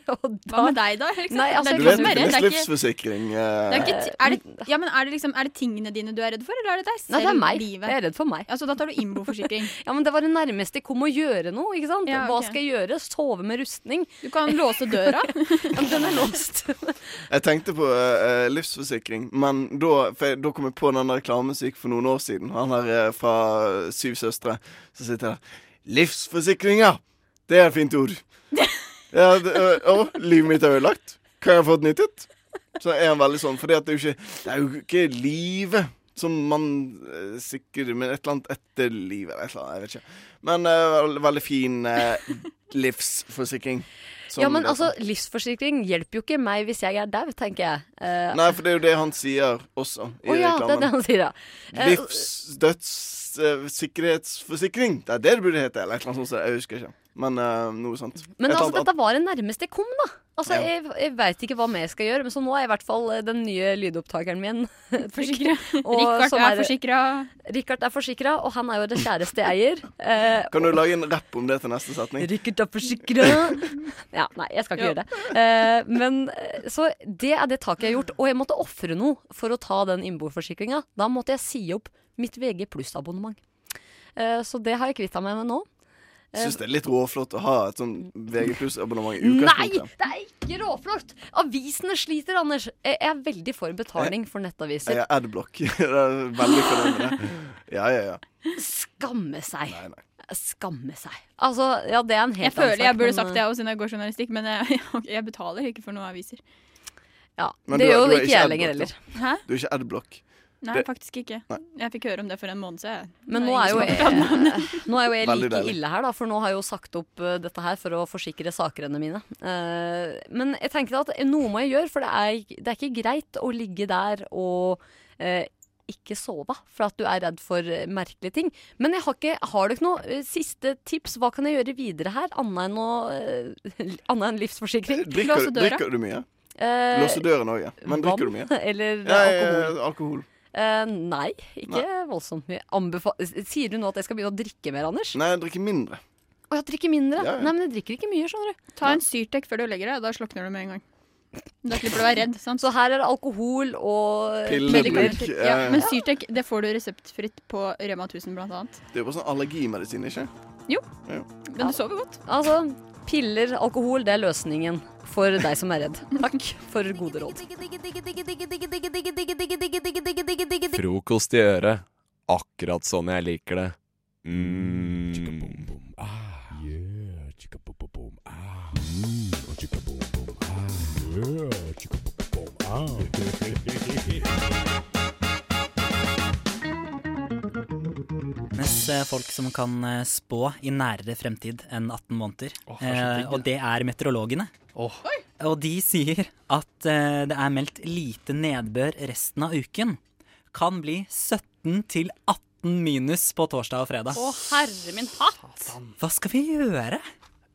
F: Og da-
G: Hva med deg, da? Liksom?
F: Nei, altså,
H: Du
F: jeg kan
H: vet,
F: jo-
H: livslivsforsikring eh,
G: Det er, ikke, ti- er, det, ja, men er, det liksom, er det tingene dine du er redd for, eller er det deg selv?
F: Nei, det er meg.
G: Livet?
F: Jeg er redd for meg.
G: Altså, da tar du innboforsikring.
F: ja, men det var det nærmeste jeg kom å gjøre noe. ikke sant?
G: Ja,
F: Hva
G: ok.
F: skal jeg gjøre? Sove med rustning?
G: Du kan låse døra.
F: ja, men den er låst.
H: Jeg tenkte på eh, eh, livsforsikring, men da, for jeg, da kom jeg på den der reklamen som gikk for noen år siden. Han her eh, fra Syv søstre. Så sitter jeg der Livsforsikringa! Det er et fint ord. ja, det, eh, å, livet mitt er ødelagt. Hva har jeg fått nyttet? Så er han veldig sånn. For det er jo ikke, det er jo ikke livet som man eh, sikrer Men et eller annet etter livet, eller et eller annet. Jeg vet ikke. Men eh, veld- veldig fin eh, livsforsikring. som
F: ja, men
H: det er
F: altså, livsforsikring hjelper jo ikke meg hvis jeg er dau, tenker jeg. Eh,
H: Nei, for det er jo det han sier også i
F: Å ja, det er
H: reklamen.
F: det han sier, ja. Eh,
H: Livs, døds, eh, sikkerhetsforsikring. Det er det det burde hete, eller et eller annet sånt. så Jeg husker ikke. Men eh, noe sånt.
F: Men
H: Et
F: altså,
H: annet-
F: dette var det nærmeste jeg kom, da. Altså,
H: Ja.
F: Jeg, jeg veit ikke hva mer jeg skal gjøre, men så nå er i hvert fall eh, den nye lydopptakeren min
G: Forsikret.
F: Og
G: Richard
F: som
G: er forsikret.
F: Richard er forsikra, og han er jo det kjæreste jeg eier. Eh,
H: Kan du lage en rapp om det til neste setning?
F: Rykket opp forsikret. Ja, nei, jeg skal ikke
H: Ja.
F: gjøre det. Eh, men eh, Så det er det taket jeg har gjort. Og jeg måtte ofre noe for å ta den innboforsikringa. Da måtte jeg si opp mitt VG pluss-abonnement. Eh, så det har jeg kvitta meg med nå. Eh,
H: Syns det er litt råflott å ha et sånn VG abonnement i
F: Nei!
H: utgangspunktet.
F: Det er ikke råflott! Avisene sliter, Anders. Jeg jeg er veldig for betaling
H: Eh,
F: for nettaviser.
H: Jeg er adblock. Det er veldig fornøyd med det. Ja, ja, ja.
F: Skamme seg. Skamme seg. Altså, ja, det er en helt
G: Jeg føler jeg burde
F: men, eh,
G: sagt det også siden jeg går journalistikk, men jeg, jeg betaler ikke for noen aviser.
F: Ja,
H: Men
F: det
H: du er-
F: gjør
H: du
F: jo
H: er
F: ikke jeg
H: adblock,
F: lenger
H: da.
F: heller.
G: Hæ?
H: Du er ikke adblock.
G: Nei,
H: Det-
G: faktisk ikke.
H: Nei.
G: Jeg fikk høre om det for en måned siden.
F: Men
G: Det
F: nå er, jo
G: ingen som har pratet om det.
F: jeg, nå er jo jeg
H: Veldig
F: like
H: deilig.
F: ille her, da, for nå har jeg jo sagt opp eh, dette her for å forsikre sakene mine. Eh, men jeg tenker at noe må jeg gjøre, for det er, det er ikke greit å ligge der og eh, ikke sove for at du er redd for eh, merkelige ting. Men jeg har, ikke, har dere noe eh, siste tips? Hva kan jeg gjøre videre her, annet enn, å, eh, annet enn livsforsikring?
H: Drikker, du- drikker du mye?
F: Eh,
H: Låser døren òg, ja. Men drikker du mye?
F: vann eller eh,
H: ja, ja,
F: alkohol?
H: ja, alkohol.
F: Eh, nei, ikke
H: Nei.
F: voldsomt mye. Anbefa Sier du nå at jeg skal begynne å drikke mer, Anders?
H: Nei, jeg drikker mindre.
F: Å, jeg drikker mindre?
H: Ja, ja.
F: Nei, men jeg drikker ikke mye, skjønner du.
G: Ta en Syrtec før du legger deg, da slokner du med en gang. Da slipper du å være redd. sant?
F: Så her er det alkohol og
H: Piller, eh.
G: Medikament.
H: bruk,
G: Ja,
H: ja, ja.
G: men Syrtec det får du reseptfritt på Rema 1000 blant annet.
H: Det er jo bare sånn allergimedisin, ikke?
G: Jo,
H: Ja.
G: men du sover godt.
F: Altså, piller, alkohol, det er løsningen for deg som er redd. Takk for gode råd.
A: Frokost i øret. Akkurat sånn jeg liker det. Mm.
R: Mens eh, folk som kan eh, spå i nærere fremtid enn 18 måneder.
N: det er så digg,
R: eh, og det er meteorologene. Og de sier at eh, det er meldt lite nedbør resten av uken. Kan bli 17 til 18 minus på torsdag og fredag.
L: Å, herre min hatt!
R: Hva skal vi gjøre?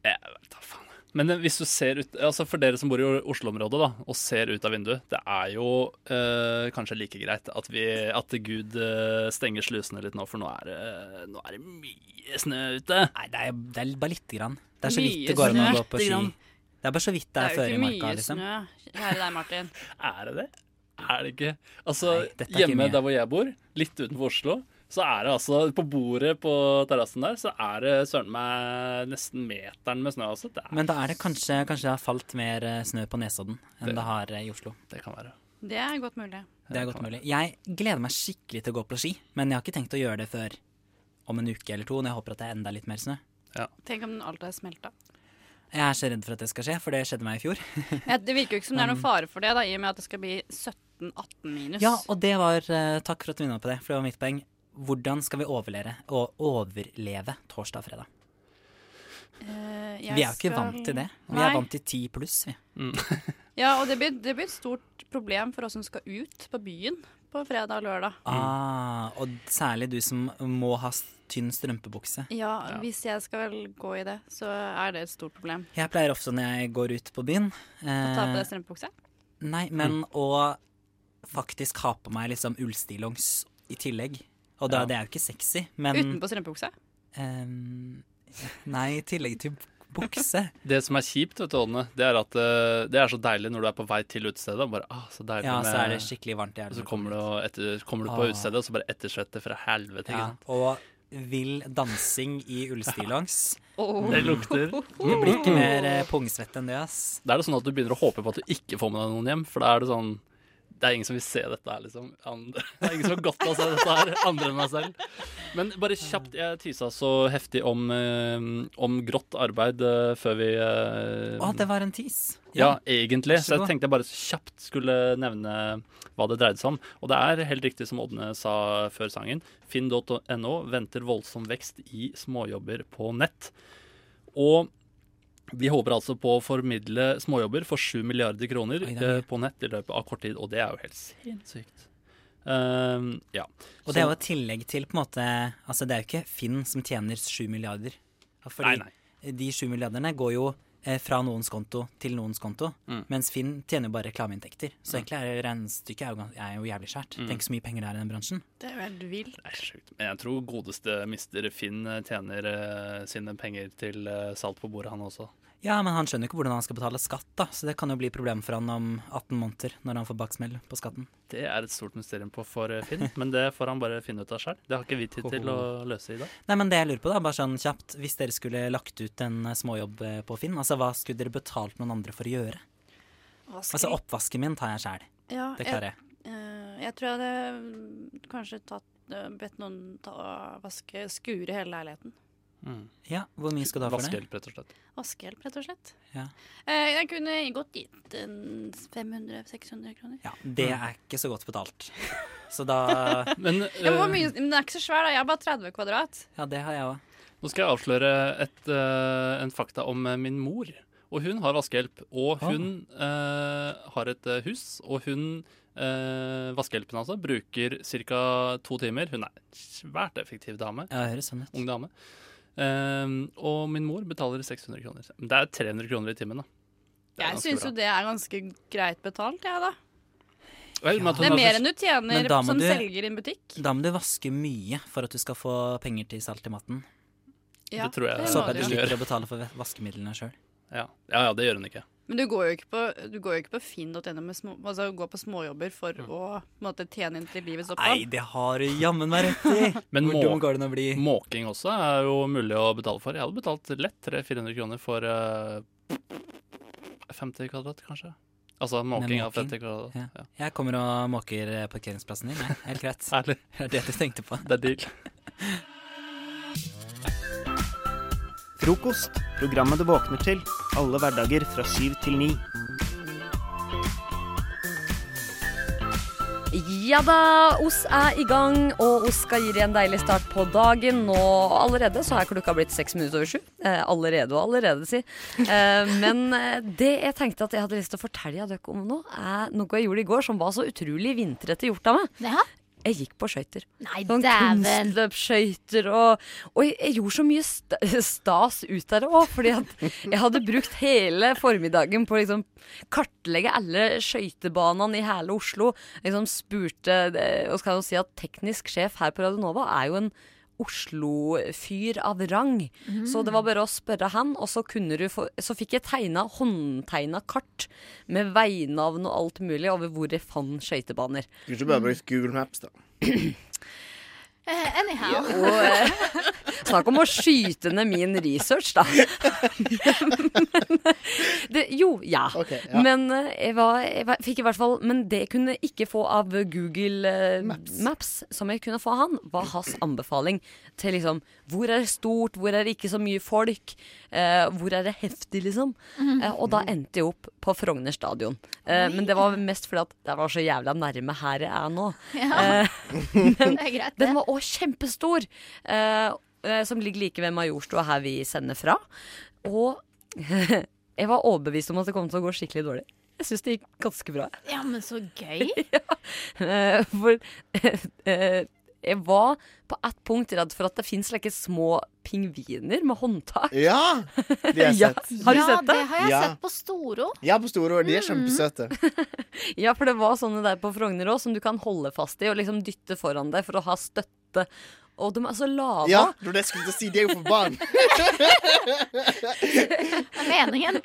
M: Jeg vet da faen. Men eh, hvis du ser ut, altså for dere som bor i Oslo-området da, og ser ut av vinduet, det er jo eh, kanskje like greit at, vi, at Gud eh, stenger slusene litt nå, for nå er, det- nå er det mye snø ute.
R: Nei, det er, det er bare lite grann. Det er så
L: Mye
R: vidt det går an å
L: snø.
R: gå på
L: Lite
R: ski.
L: grann.
R: Det er bare så vidt det er
L: det er
R: før
L: jo
R: i
L: ikke
R: marka,
L: mye
R: liksom.
L: snø. Kjære deg, Martin.
M: Er det det? Er det ikke? Altså,
R: dette er ikke
M: hjemme
R: mye.
M: der hvor jeg bor, litt utenfor Oslo, så er det altså På bordet på terrassen der, så er det søren meg nesten meteren med snø også. Det er
R: Men da er det kanskje, kanskje det har falt mer eh, snø på Nesodden enn det,
M: Det-
R: har eh, i Oslo. Det kan være.
L: Det er godt mulig.
R: Det er godt mulig. Jeg gleder meg skikkelig til å gå på ski, men jeg har ikke tenkt å gjøre det før om en uke eller to, når jeg håper at det er enda litt mer snø.
L: Tenk om den alt er smelta.
R: Jeg er så redd for at det skal skje, for det skjedde meg i fjor.
L: Ja, det virker jo ikke som det er noen
R: Mm.
L: fare for det, da, i og med at det skal bli 17-18 minus.
R: Ja, og det var eh, Takk for at du minnet på det, for det var mitt poeng. Hvordan skal vi overleve, å- overleve torsdag og fredag?
L: Eh, jeg
R: Vi er jo ikke
L: skal-
R: vant til det. Vi
L: Nei.
R: er vant til ti pluss, vi.
L: Ja, og det blir, det blir et stort problem for oss som skal ut på byen på fredag og lørdag.
R: Ah, og særlig du som må ha s- tynn strømpebukse.
L: Ja, hvis jeg skal vel gå i det, så er det et stort problem.
R: Jeg pleier ofte når jeg går ut på byen
L: Å ta på
R: eh,
L: deg strømpebukse.
R: Nei, men å faktisk ha på meg liksom ullstillongs i tillegg. Og da,
L: Ja.
R: det er jo ikke sexy, men
L: Utenpå strømpebukse.
R: Ehm, nei, i tillegg til bukse.
M: Det som er kjipt, vet du, Ådne, det er at eh, det er så deilig når du er på vei til utestedet. og Bare, ah, så deilig
R: Ja, så er
M: med-
R: det skikkelig varmt i hjernen
M: Og så
R: når du
M: kommer du, og etter, kommer du på
R: Ah.
M: utestedet, og så bare ettersvette fra helvete. ikke
R: Ja,
M: sant?
R: og vill dansing i ullstillongs.
M: Åh. Det lukter.
R: Det blir ikke mer eh, pungsvett enn det, ass.
M: Da er det sånn at du begynner å håpe på at du ikke får med deg noen hjem, for da er det sånn det er ingen som vil se dette her, liksom. Andre. Det er ingen som har godt av å se dette her, andre enn meg selv. Men bare kjapt, jeg tisa så heftig om, eh, om grått arbeid eh, før vi eh,
R: Å, det var en tis.
M: Ja, egentlig.
R: Vær så
M: Så jeg
R: god.
M: tenkte jeg bare kjapt skulle nevne hva det dreide seg om. Og det er helt riktig som Ådne sa før sangen. Finn.no venter voldsom vekst i småjobber på nett. Og de håper altså på å formidle småjobber for 7 milliarder kroner
R: Oi, det er mye.
M: eh, på nett i løpet av kort tid, og det er jo helt sinnssykt. Ehm, ja.
R: Og det er jo i tillegg til på en måte Altså, det er jo ikke Finn som tjener sju milliarder. Fordi
M: Nei,
R: de sju milliardene går jo eh, fra noens konto til noens konto,
M: Mm.
R: mens Finn tjener jo bare reklameinntekter. Så
M: Mm.
R: egentlig er det regnestykket er jo, gans- er jo jævlig skjært.
M: Mm.
R: Tenk så mye penger det er i den bransjen.
L: Det er jo helt vilt.
M: Det er sjukt. Men jeg tror godeste mister Finn eh, tjener eh, sine penger til eh, salt på bordet, han også.
R: Ja, men han skjønner jo ikke hvordan han skal betale skatt, da. Så det kan jo bli problem for han om 18 måneder, når han får baksmell på skatten.
M: Det er et stort mysterium på for eh, Finn, men det får han bare finne ut av sjøl. Det har ikke vi tid til å løse i dag.
R: Nei, men det jeg lurer på da, bare sånn kjapt, hvis dere skulle lagt ut en eh, småjobb eh, på Finn, altså hva skulle dere betalt noen andre for å gjøre?
L: Hva skal
R: Altså
L: jeg-
R: oppvasken min tar jeg sjæl.
L: Ja,
R: det klarer jeg.
L: eh, jeg tror jeg hadde mm, kanskje tatt, eh, bedt noen ta, vaske, skure hele leiligheten.
R: Ja, hvor mye skal du ha for det?
M: Mm. Vaskehjelp, rett og slett.
L: Vaskehjelp, rett og slett.
R: Ja.
L: Eh, jeg kunne godt gitt en 500-600 kroner.
R: Ja, Det
M: Mm.
R: er ikke så godt betalt. Så da
M: Men, eh,
L: Ja, men, hvor mye, men den er ikke så svær, da. Jeg er bare 30 kvadrat.
R: Ja, det har jeg òg.
M: Nå skal jeg avsløre et, eh, en fakta om eh, min mor. Og hun har vaskehjelp. Og hun eh, har et eh, hus, og hun eh, Vaskehjelpen altså bruker ca. to timer. Hun er en svært effektiv dame.
R: Ja, det høres sånn ut.
M: Ung dame. Eh, og min mor betaler 600 kroner. Men Det er 300 kroner i timen, da. Det er
L: Jeg
M: ganske
L: syns
M: bra.
L: jo det er ganske greit betalt, jeg, da.
M: Vel, men at hun
L: Det er
M: har
L: mer
M: så-
L: enn du tjener
R: Men da må
L: som
R: du-
L: selger i en butikk.
R: Da må du vaske mye for at du skal få penger til salt i maten.
L: Ja, Det tror jeg det
R: Så
L: må
R: at du
L: du.
R: slipper å betale for vaskemidlene sjøl.
M: Ja. ja, det gjør hun ikke.
L: Men du går jo ikke på, du går jo ikke på finn.no med små, altså gå på småjobber for
M: Mm.
L: å på en måte, tjene inn til livets
R: Nei,
L: opphold.
R: det har du jammen meg rett i!
M: Men
R: Hvor
M: må-
R: dum går den å bli?
M: Måking også er jo mulig å betale for. Jeg hadde betalt lett 300-400 kroner for eh, 50 kvadrat, kanskje. Altså måking av
R: måking?
M: 50 kvadrat.
R: Ja.
M: Ja.
R: Jeg kommer og måker eh, parkeringsplassen din. jeg. Helt greit. Det er det du tenkte på.
M: Det er deal.
U: Frokost. Programmet du våkner til. Alle hverdager fra syv til ni.
F: Ja da, oss er i gang, og oss skal gi deg en deilig start på dagen. Og allerede så er klokka blitt seks minutter over sju. Eh, allerede og allerede, si. Eh, men eh, det jeg tenkte at jeg hadde lyst til å fortelle dere om nå, er noe jeg gjorde i går som var så utrolig vintrete gjort av meg. Jeg gikk på skøyter.
O: Nei,
F: Sånn
O: dæven.
F: kunstløpsskøyter og Og jeg, jeg gjorde så mye st stas ut av det òg, fordi at jeg hadde brukt hele formiddagen på å liksom kartlegge alle skøytebanene i hele Oslo. Liksom spurte eh, Og skal jo si at teknisk sjef her på Radionova er jo en Oslo-fyr av rang.
O: Mm.
F: Så det var bare å spørre han, og så, kunne du få, så fikk jeg tegna, håndtegna kart med veinavn og alt mulig over hvor jeg fant skøytebaner.
P: Skulle ikke bare brukt Google Maps, da.
O: Eh, anyhow.
F: Og eh, snakk om å skyte ned min research, da. Men, det, jo, ja.
O: ja.
F: Men eh, jeg, var, jeg var, fikk i hvert fall Men det jeg kunne ikke få av Google eh, Maps. som jeg kunne få av han, var hans anbefaling til liksom Hvor er det stort? Hvor er det ikke så mye folk? Eh, hvor er det heftig, liksom?
O: Mhm.
F: Eh, og da endte jeg opp på Frogner stadion. Eh, men det var mest fordi at det var så jævla nærme her jeg er nå.
O: Ja.
F: Eh, men den var òg kjempestor. eh, eh, som ligger like ved Majorstua, her vi sender fra. Og jeg var overbevist om at det kom til å gå skikkelig dårlig. Jeg syns det gikk ganske bra.
O: Ja, men så gøy.
F: Eh, for eh, jeg var på ett punkt redd for at det fins slike små pingviner med håndtak.
P: Ja! De har jeg
F: Ja,
P: sett.
F: har du sett det?
O: Ja, det har jeg
P: Ja.
O: sett på Storo.
P: Ja, på store år. De er
F: Mm.
P: kjempesøte.
F: Ja, for det var sånne der på Frogner òg, som du kan holde fast i og liksom dytte foran deg for å ha støtte. Og de er så lave.
P: Ja, det var det jeg skulle til å si. De er jo for barn.
O: meningen.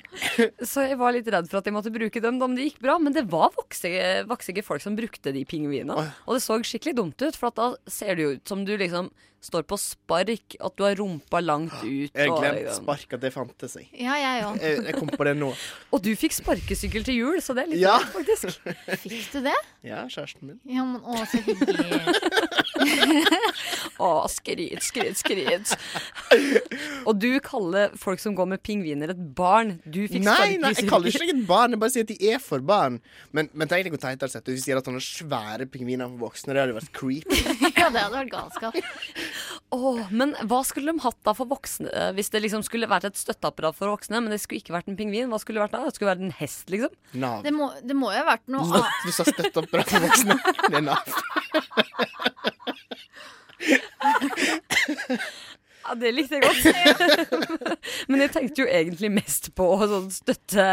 F: Så jeg var litt redd for at jeg måtte bruke dem, da, men det gikk bra. Men det var vaksige, vaksige folk som brukte de pingvinene. Og det så skikkelig dumt ut, for at da ser det jo ut som du liksom står på spark, at du har rumpa langt ut.
P: Jeg
F: og-
P: glemte spark at det fantes, jeg.
O: Ja, jeg òg.
P: Jeg, jeg kom på det nå.
F: Og du fikk sparkesykkel til jul, så det er litt
P: Ja.
F: rart, faktisk.
O: Fikk du det?
P: Ja, kjæresten min.
O: Ja, men å, så hyggelig.
F: Å, skryt, skryt, skryt. Og du kaller folk som går med pingviner, et barn. Du fikk
P: Nei, nei, jeg kaller
F: sparkesykkel.
P: ikke noen barn. Jeg bare sier at de er for barn. Men, men tenk deg hvor teit det hadde sett ut hvis de hadde hatt sånne svære pingviner for voksne. Det hadde vært creep.
O: Ja, det hadde vært galskap.
F: Åh, men hva skulle de hatt da for voksne? eh, Hvis det liksom skulle vært et støtteapparat for voksne, men det skulle ikke vært en pingvin, hva skulle det vært da? Det skulle vært en hest, liksom.
P: Nav.
O: Det må, det må jo ha vært noe annet.
P: Du sa støtteapparat for voksne. Det er Nav.
F: Ja, det likte jeg godt. men jeg tenkte jo egentlig mest på sånn støtte,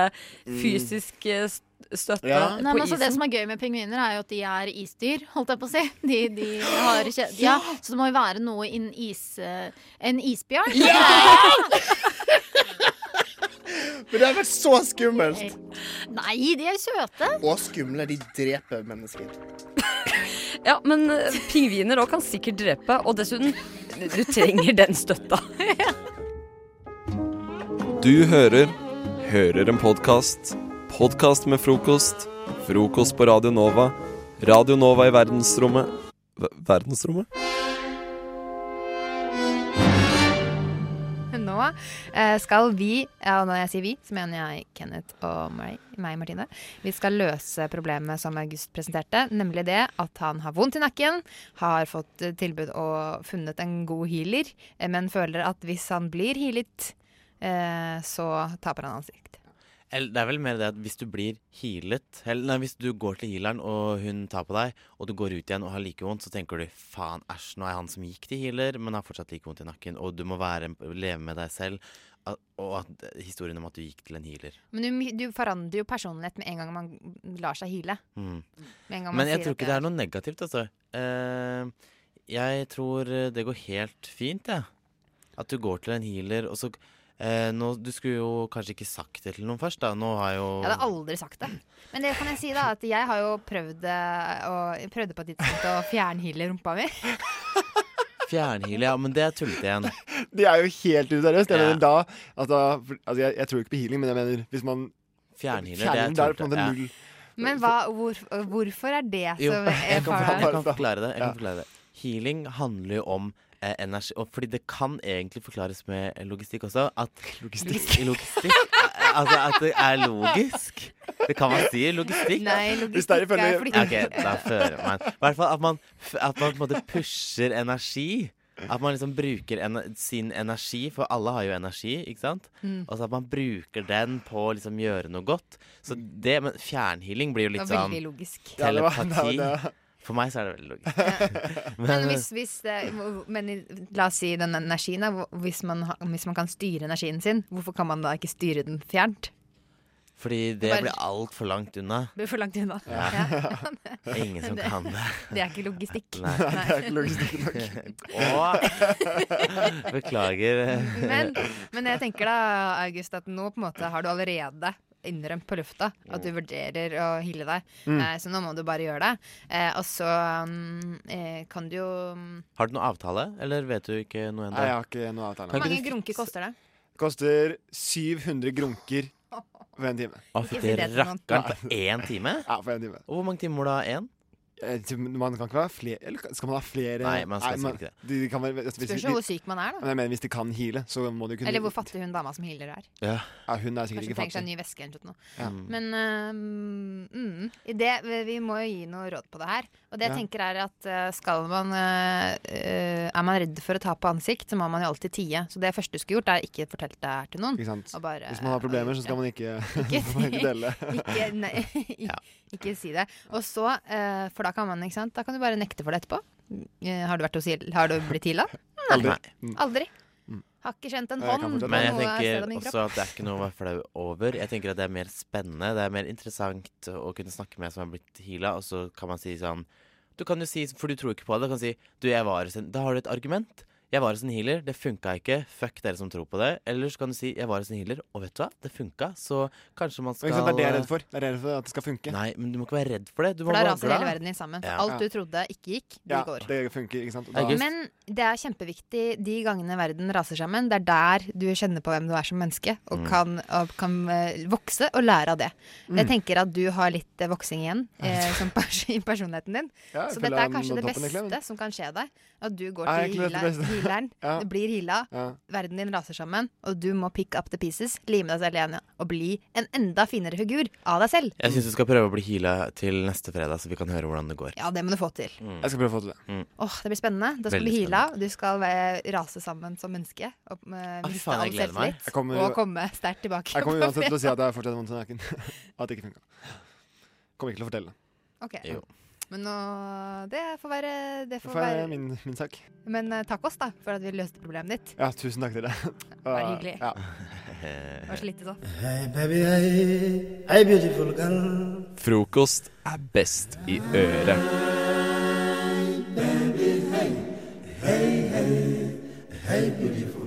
F: fysisk eh, st- støtte
O: Ja. Nei,
F: på
O: men altså, det
F: isen.
O: som er gøy med pingviner, er jo at de er isdyr, holdt jeg på å si. De, de har ikke, ja, så det må jo være noe innen is... eh, En isbjørn.
P: Men det hadde vært så skummelt.
O: Nei, de er søte.
P: Og skumle. De dreper mennesker.
F: Ja, men eh, pingviner òg kan sikkert drepe, og dessuten, du trenger den støtta.
A: Du hører Hører en podkast. Podkast med frokost. Frokost på Radio Nova. Radio Nova i verdensrommet Ver- Verdensrommet?
B: Nå eh, skal vi, ja, og når jeg sier vi, så mener jeg Kenneth og meg, meg Martine, vi skal løse problemet som August presenterte, nemlig det at han har vondt i nakken, har fått eh, tilbud og funnet en god healer, eh, men føler at hvis han blir healet, eh, så taper han ansikt.
D: Eller, det er vel mer det at hvis du blir healet eller, Nei, hvis du går til healeren, og hun tar på deg, og du går ut igjen og har like vondt, så tenker du faen, æsj, nå er han som gikk til healer, men har fortsatt like vondt i nakken, og du må være, leve med deg selv. at- Og at, eh, historien om at du gikk til en healer.
B: Men du, du forandrer jo personlighet med en gang man lar seg heale.
D: Mm.
B: Med en gang man
D: Men jeg
B: sier
D: tror
B: at
D: ikke det er noe negativt, altså. Eh, jeg tror eh, det går helt fint, jeg. At du går til en healer, og så eh, nå, Du skulle jo kanskje ikke sagt det til noen først, da. Nå har jo
B: Jeg hadde aldri sagt det. Men det kan jeg si da, at jeg har jo prøvd eh, å, jeg prøvde på et tidspunkt å fjernheale rumpa mi.
D: Fjernhealer, ja, men det er tullete igjen.
C: Det er jo helt useriøst. Jeg
D: Ja.
C: mener da altså, for- altså, jeg, jeg tror ikke på healing, men jeg mener hvis man
D: Fjernhealer, det er
C: Fjerning, da er det på
D: tullete,
C: en måte
D: ja.
C: null.
B: Men hva, hvor, hvorfor er det
D: Jo,
B: som faren-
D: jeg kan, forklare, jeg kan forklare det. Jeg kan forklare det. Healing handler jo om eh, energi og Fordi det kan egentlig forklares med logistikk også. At logistikk, eh, Altså at det er logisk. Det kan man si. Logistikk.
B: Nei, logistikk er flytting.
D: Ok, da fører man I hvert fall at man, f- at man på en måte pusher energi. At man liksom bruker ener sin energi, for alle har jo energi, ikke sant?
S: Mm.
D: Og så at man bruker den på å liksom gjøre noe godt. Så det, men fjernhealing blir jo litt
B: Det var
D: sånn
B: veldig logisk. Ja, det var- det
D: telepati.
B: var- det var-
D: For meg så er det veldig logisk.
B: Men, hvis, hvis det, men i- la oss si den energien, da. hvor- Hvis man, har- hvis man kan styre energien sin, hvorfor kan man da ikke styre den fjernt?
D: Fordi det
B: bare-
D: blir altfor langt unna.
B: Det blir for langt unna.
D: Ja.
B: Ja.
D: Det er ingen som kan det.
B: Det er ikke logistikk.
D: Nei. Å, Beklager.
B: Men, men jeg tenker da, August, at nå på en måte har du allerede innrømt på lufta at du vurderer å hille deg.
D: Mm.
B: Eh, så nå må du bare gjøre det. Eh, og så um, eh, kan du jo
D: Har du noen avtale, eller vet du ikke noe ennå?
C: Nei, jeg har ikke noe avtale.
B: Hvor mange grunker koster det?
C: Koster 700 grunker for en time.
D: Å, fytti Ikke si det til noen. rakkeren, på én time?
C: Ja, for en time. Eh,
D: Og hvor mange timer da? Én?
C: Man kan ikke ha flere Eller skal man ha flere?
D: Nei, man skal sikkert ikke
C: de, de kan være, hvis,
B: Spørs
C: de-
B: jo hvor syk man er,
C: Men
B: da.
C: jeg mener, hvis de kan heale, så må de kunne
B: Eller hvor fattig hun dama som healer er.
C: Ja. Hun er sikkert
B: Kanskje hun trenger seg
C: ikke
B: en
C: fattig. Mm.
B: ny veske eller noe.
C: Ja.
D: Mm.
B: Men eh, mm, i det, vi- vi må jo gi noe råd på det her. Og det jeg
C: Ja.
B: tenker er at eh, skal man eh, eh, Er man redd for å tape ansikt, så må man jo alltid tie. Så det første du skulle gjort, er ikke fortelt det her til noen.
C: Ikke sant?
B: Og bare,
C: Hvis man har problemer, så skal man ikke, får man ikke dele.
B: ikke, nei, ikke, ikke si det. Og så, eh, for da kan man, ikke sant, da kan du bare nekte for det etterpå. Eh, Har du, vært hos, Hil- har du blitt heala?
D: Aldri.
B: Aldri. Har ikke kjent en
C: Mm. Nei, jeg kan
B: hånd
C: fortelle.
D: Men jeg
B: noe sted av min
D: tenker også
B: kropp.
D: at det er ikke noe å være flau over. Jeg tenker at det er mer spennende, det er mer interessant å kunne snakke med en som har blitt heala, og så kan man si sånn Du kan jo si, for du tror ikke på det, du kan si Du, jeg var hos en Da har du et argument. Jeg var hos en healer, det funka ikke. Fuck dere som tror på det. Eller så kan du si jeg var hos en healer, og vet du hva, det funka, så kanskje man
C: Men
D: skal
C: ikke sant, det er det jeg er redd for. Det er jeg redd for At det skal funke.
D: Nei, men du må ikke være redd for det. Du må
B: For da
D: være
B: raser hele
D: glad.
B: verden din sammen.
D: Ja.
B: Alt du trodde ikke gikk, det
C: Ja,
B: går.
C: det funker, ikke sant? Og da-
B: Men det er kjempeviktig de gangene verden raser sammen. Det er der du kjenner på hvem du er som menneske, og
C: Mm.
B: kan, og kan eh, vokse og lære av det. Jeg
C: Mm.
B: tenker at du har litt eh, voksing igjen eh, som pers i personligheten din.
C: Ja,
B: så
C: jeg føler
B: dette er
C: jeg
B: kanskje
C: nådde
B: det
C: toppen, egentlig, men-
B: beste som kan skje deg. At du går
C: Ja, jeg
B: til
C: tror det er det
B: healeren,
C: beste.
B: healeren
C: Ja.
B: du blir heala,
C: Ja.
B: verden din raser sammen, og du må pick up the pieces, lime deg selv igjen og bli en enda finere figur av deg selv.
D: eh, Jeg syns du skal prøve å bli heala til neste fredag, så vi kan høre hvordan det går.
B: Ja, det må du få til.
C: Jeg skal prøve å få til det.
D: Mm.
B: Åh, Det blir spennende. Da skal
D: Veldig
B: du heale av. Du skal eh, rase sammen som menneske. Og eh,
D: fy
B: miste
D: faen,
B: all
D: jeg gleder meg.
B: selvtillit.
C: Jeg kommer-
B: Og komme sterkt tilbake.
C: Jeg kommer
B: på
C: uansett til å si
B: fredag.
C: at jeg fortsatt har vondt i nakken. At det ikke funka. Kommer ikke til å fortelle.
B: Ok.
C: Jo.
B: Men nå Det får være, det
C: Det
B: får
C: får være
B: være.
C: min, min sak.
B: Men eh, takk oss, da, for at vi løste problemet ditt.
C: Ja, tusen takk til dere.
B: Bare hyggelig.
C: Ja.
B: Det var så lite sånn.
J: Hey baby, hey, hey beautiful girl.
A: Frokost er best i øret.
J: Hey baby, hey, hey, hey, hey beautiful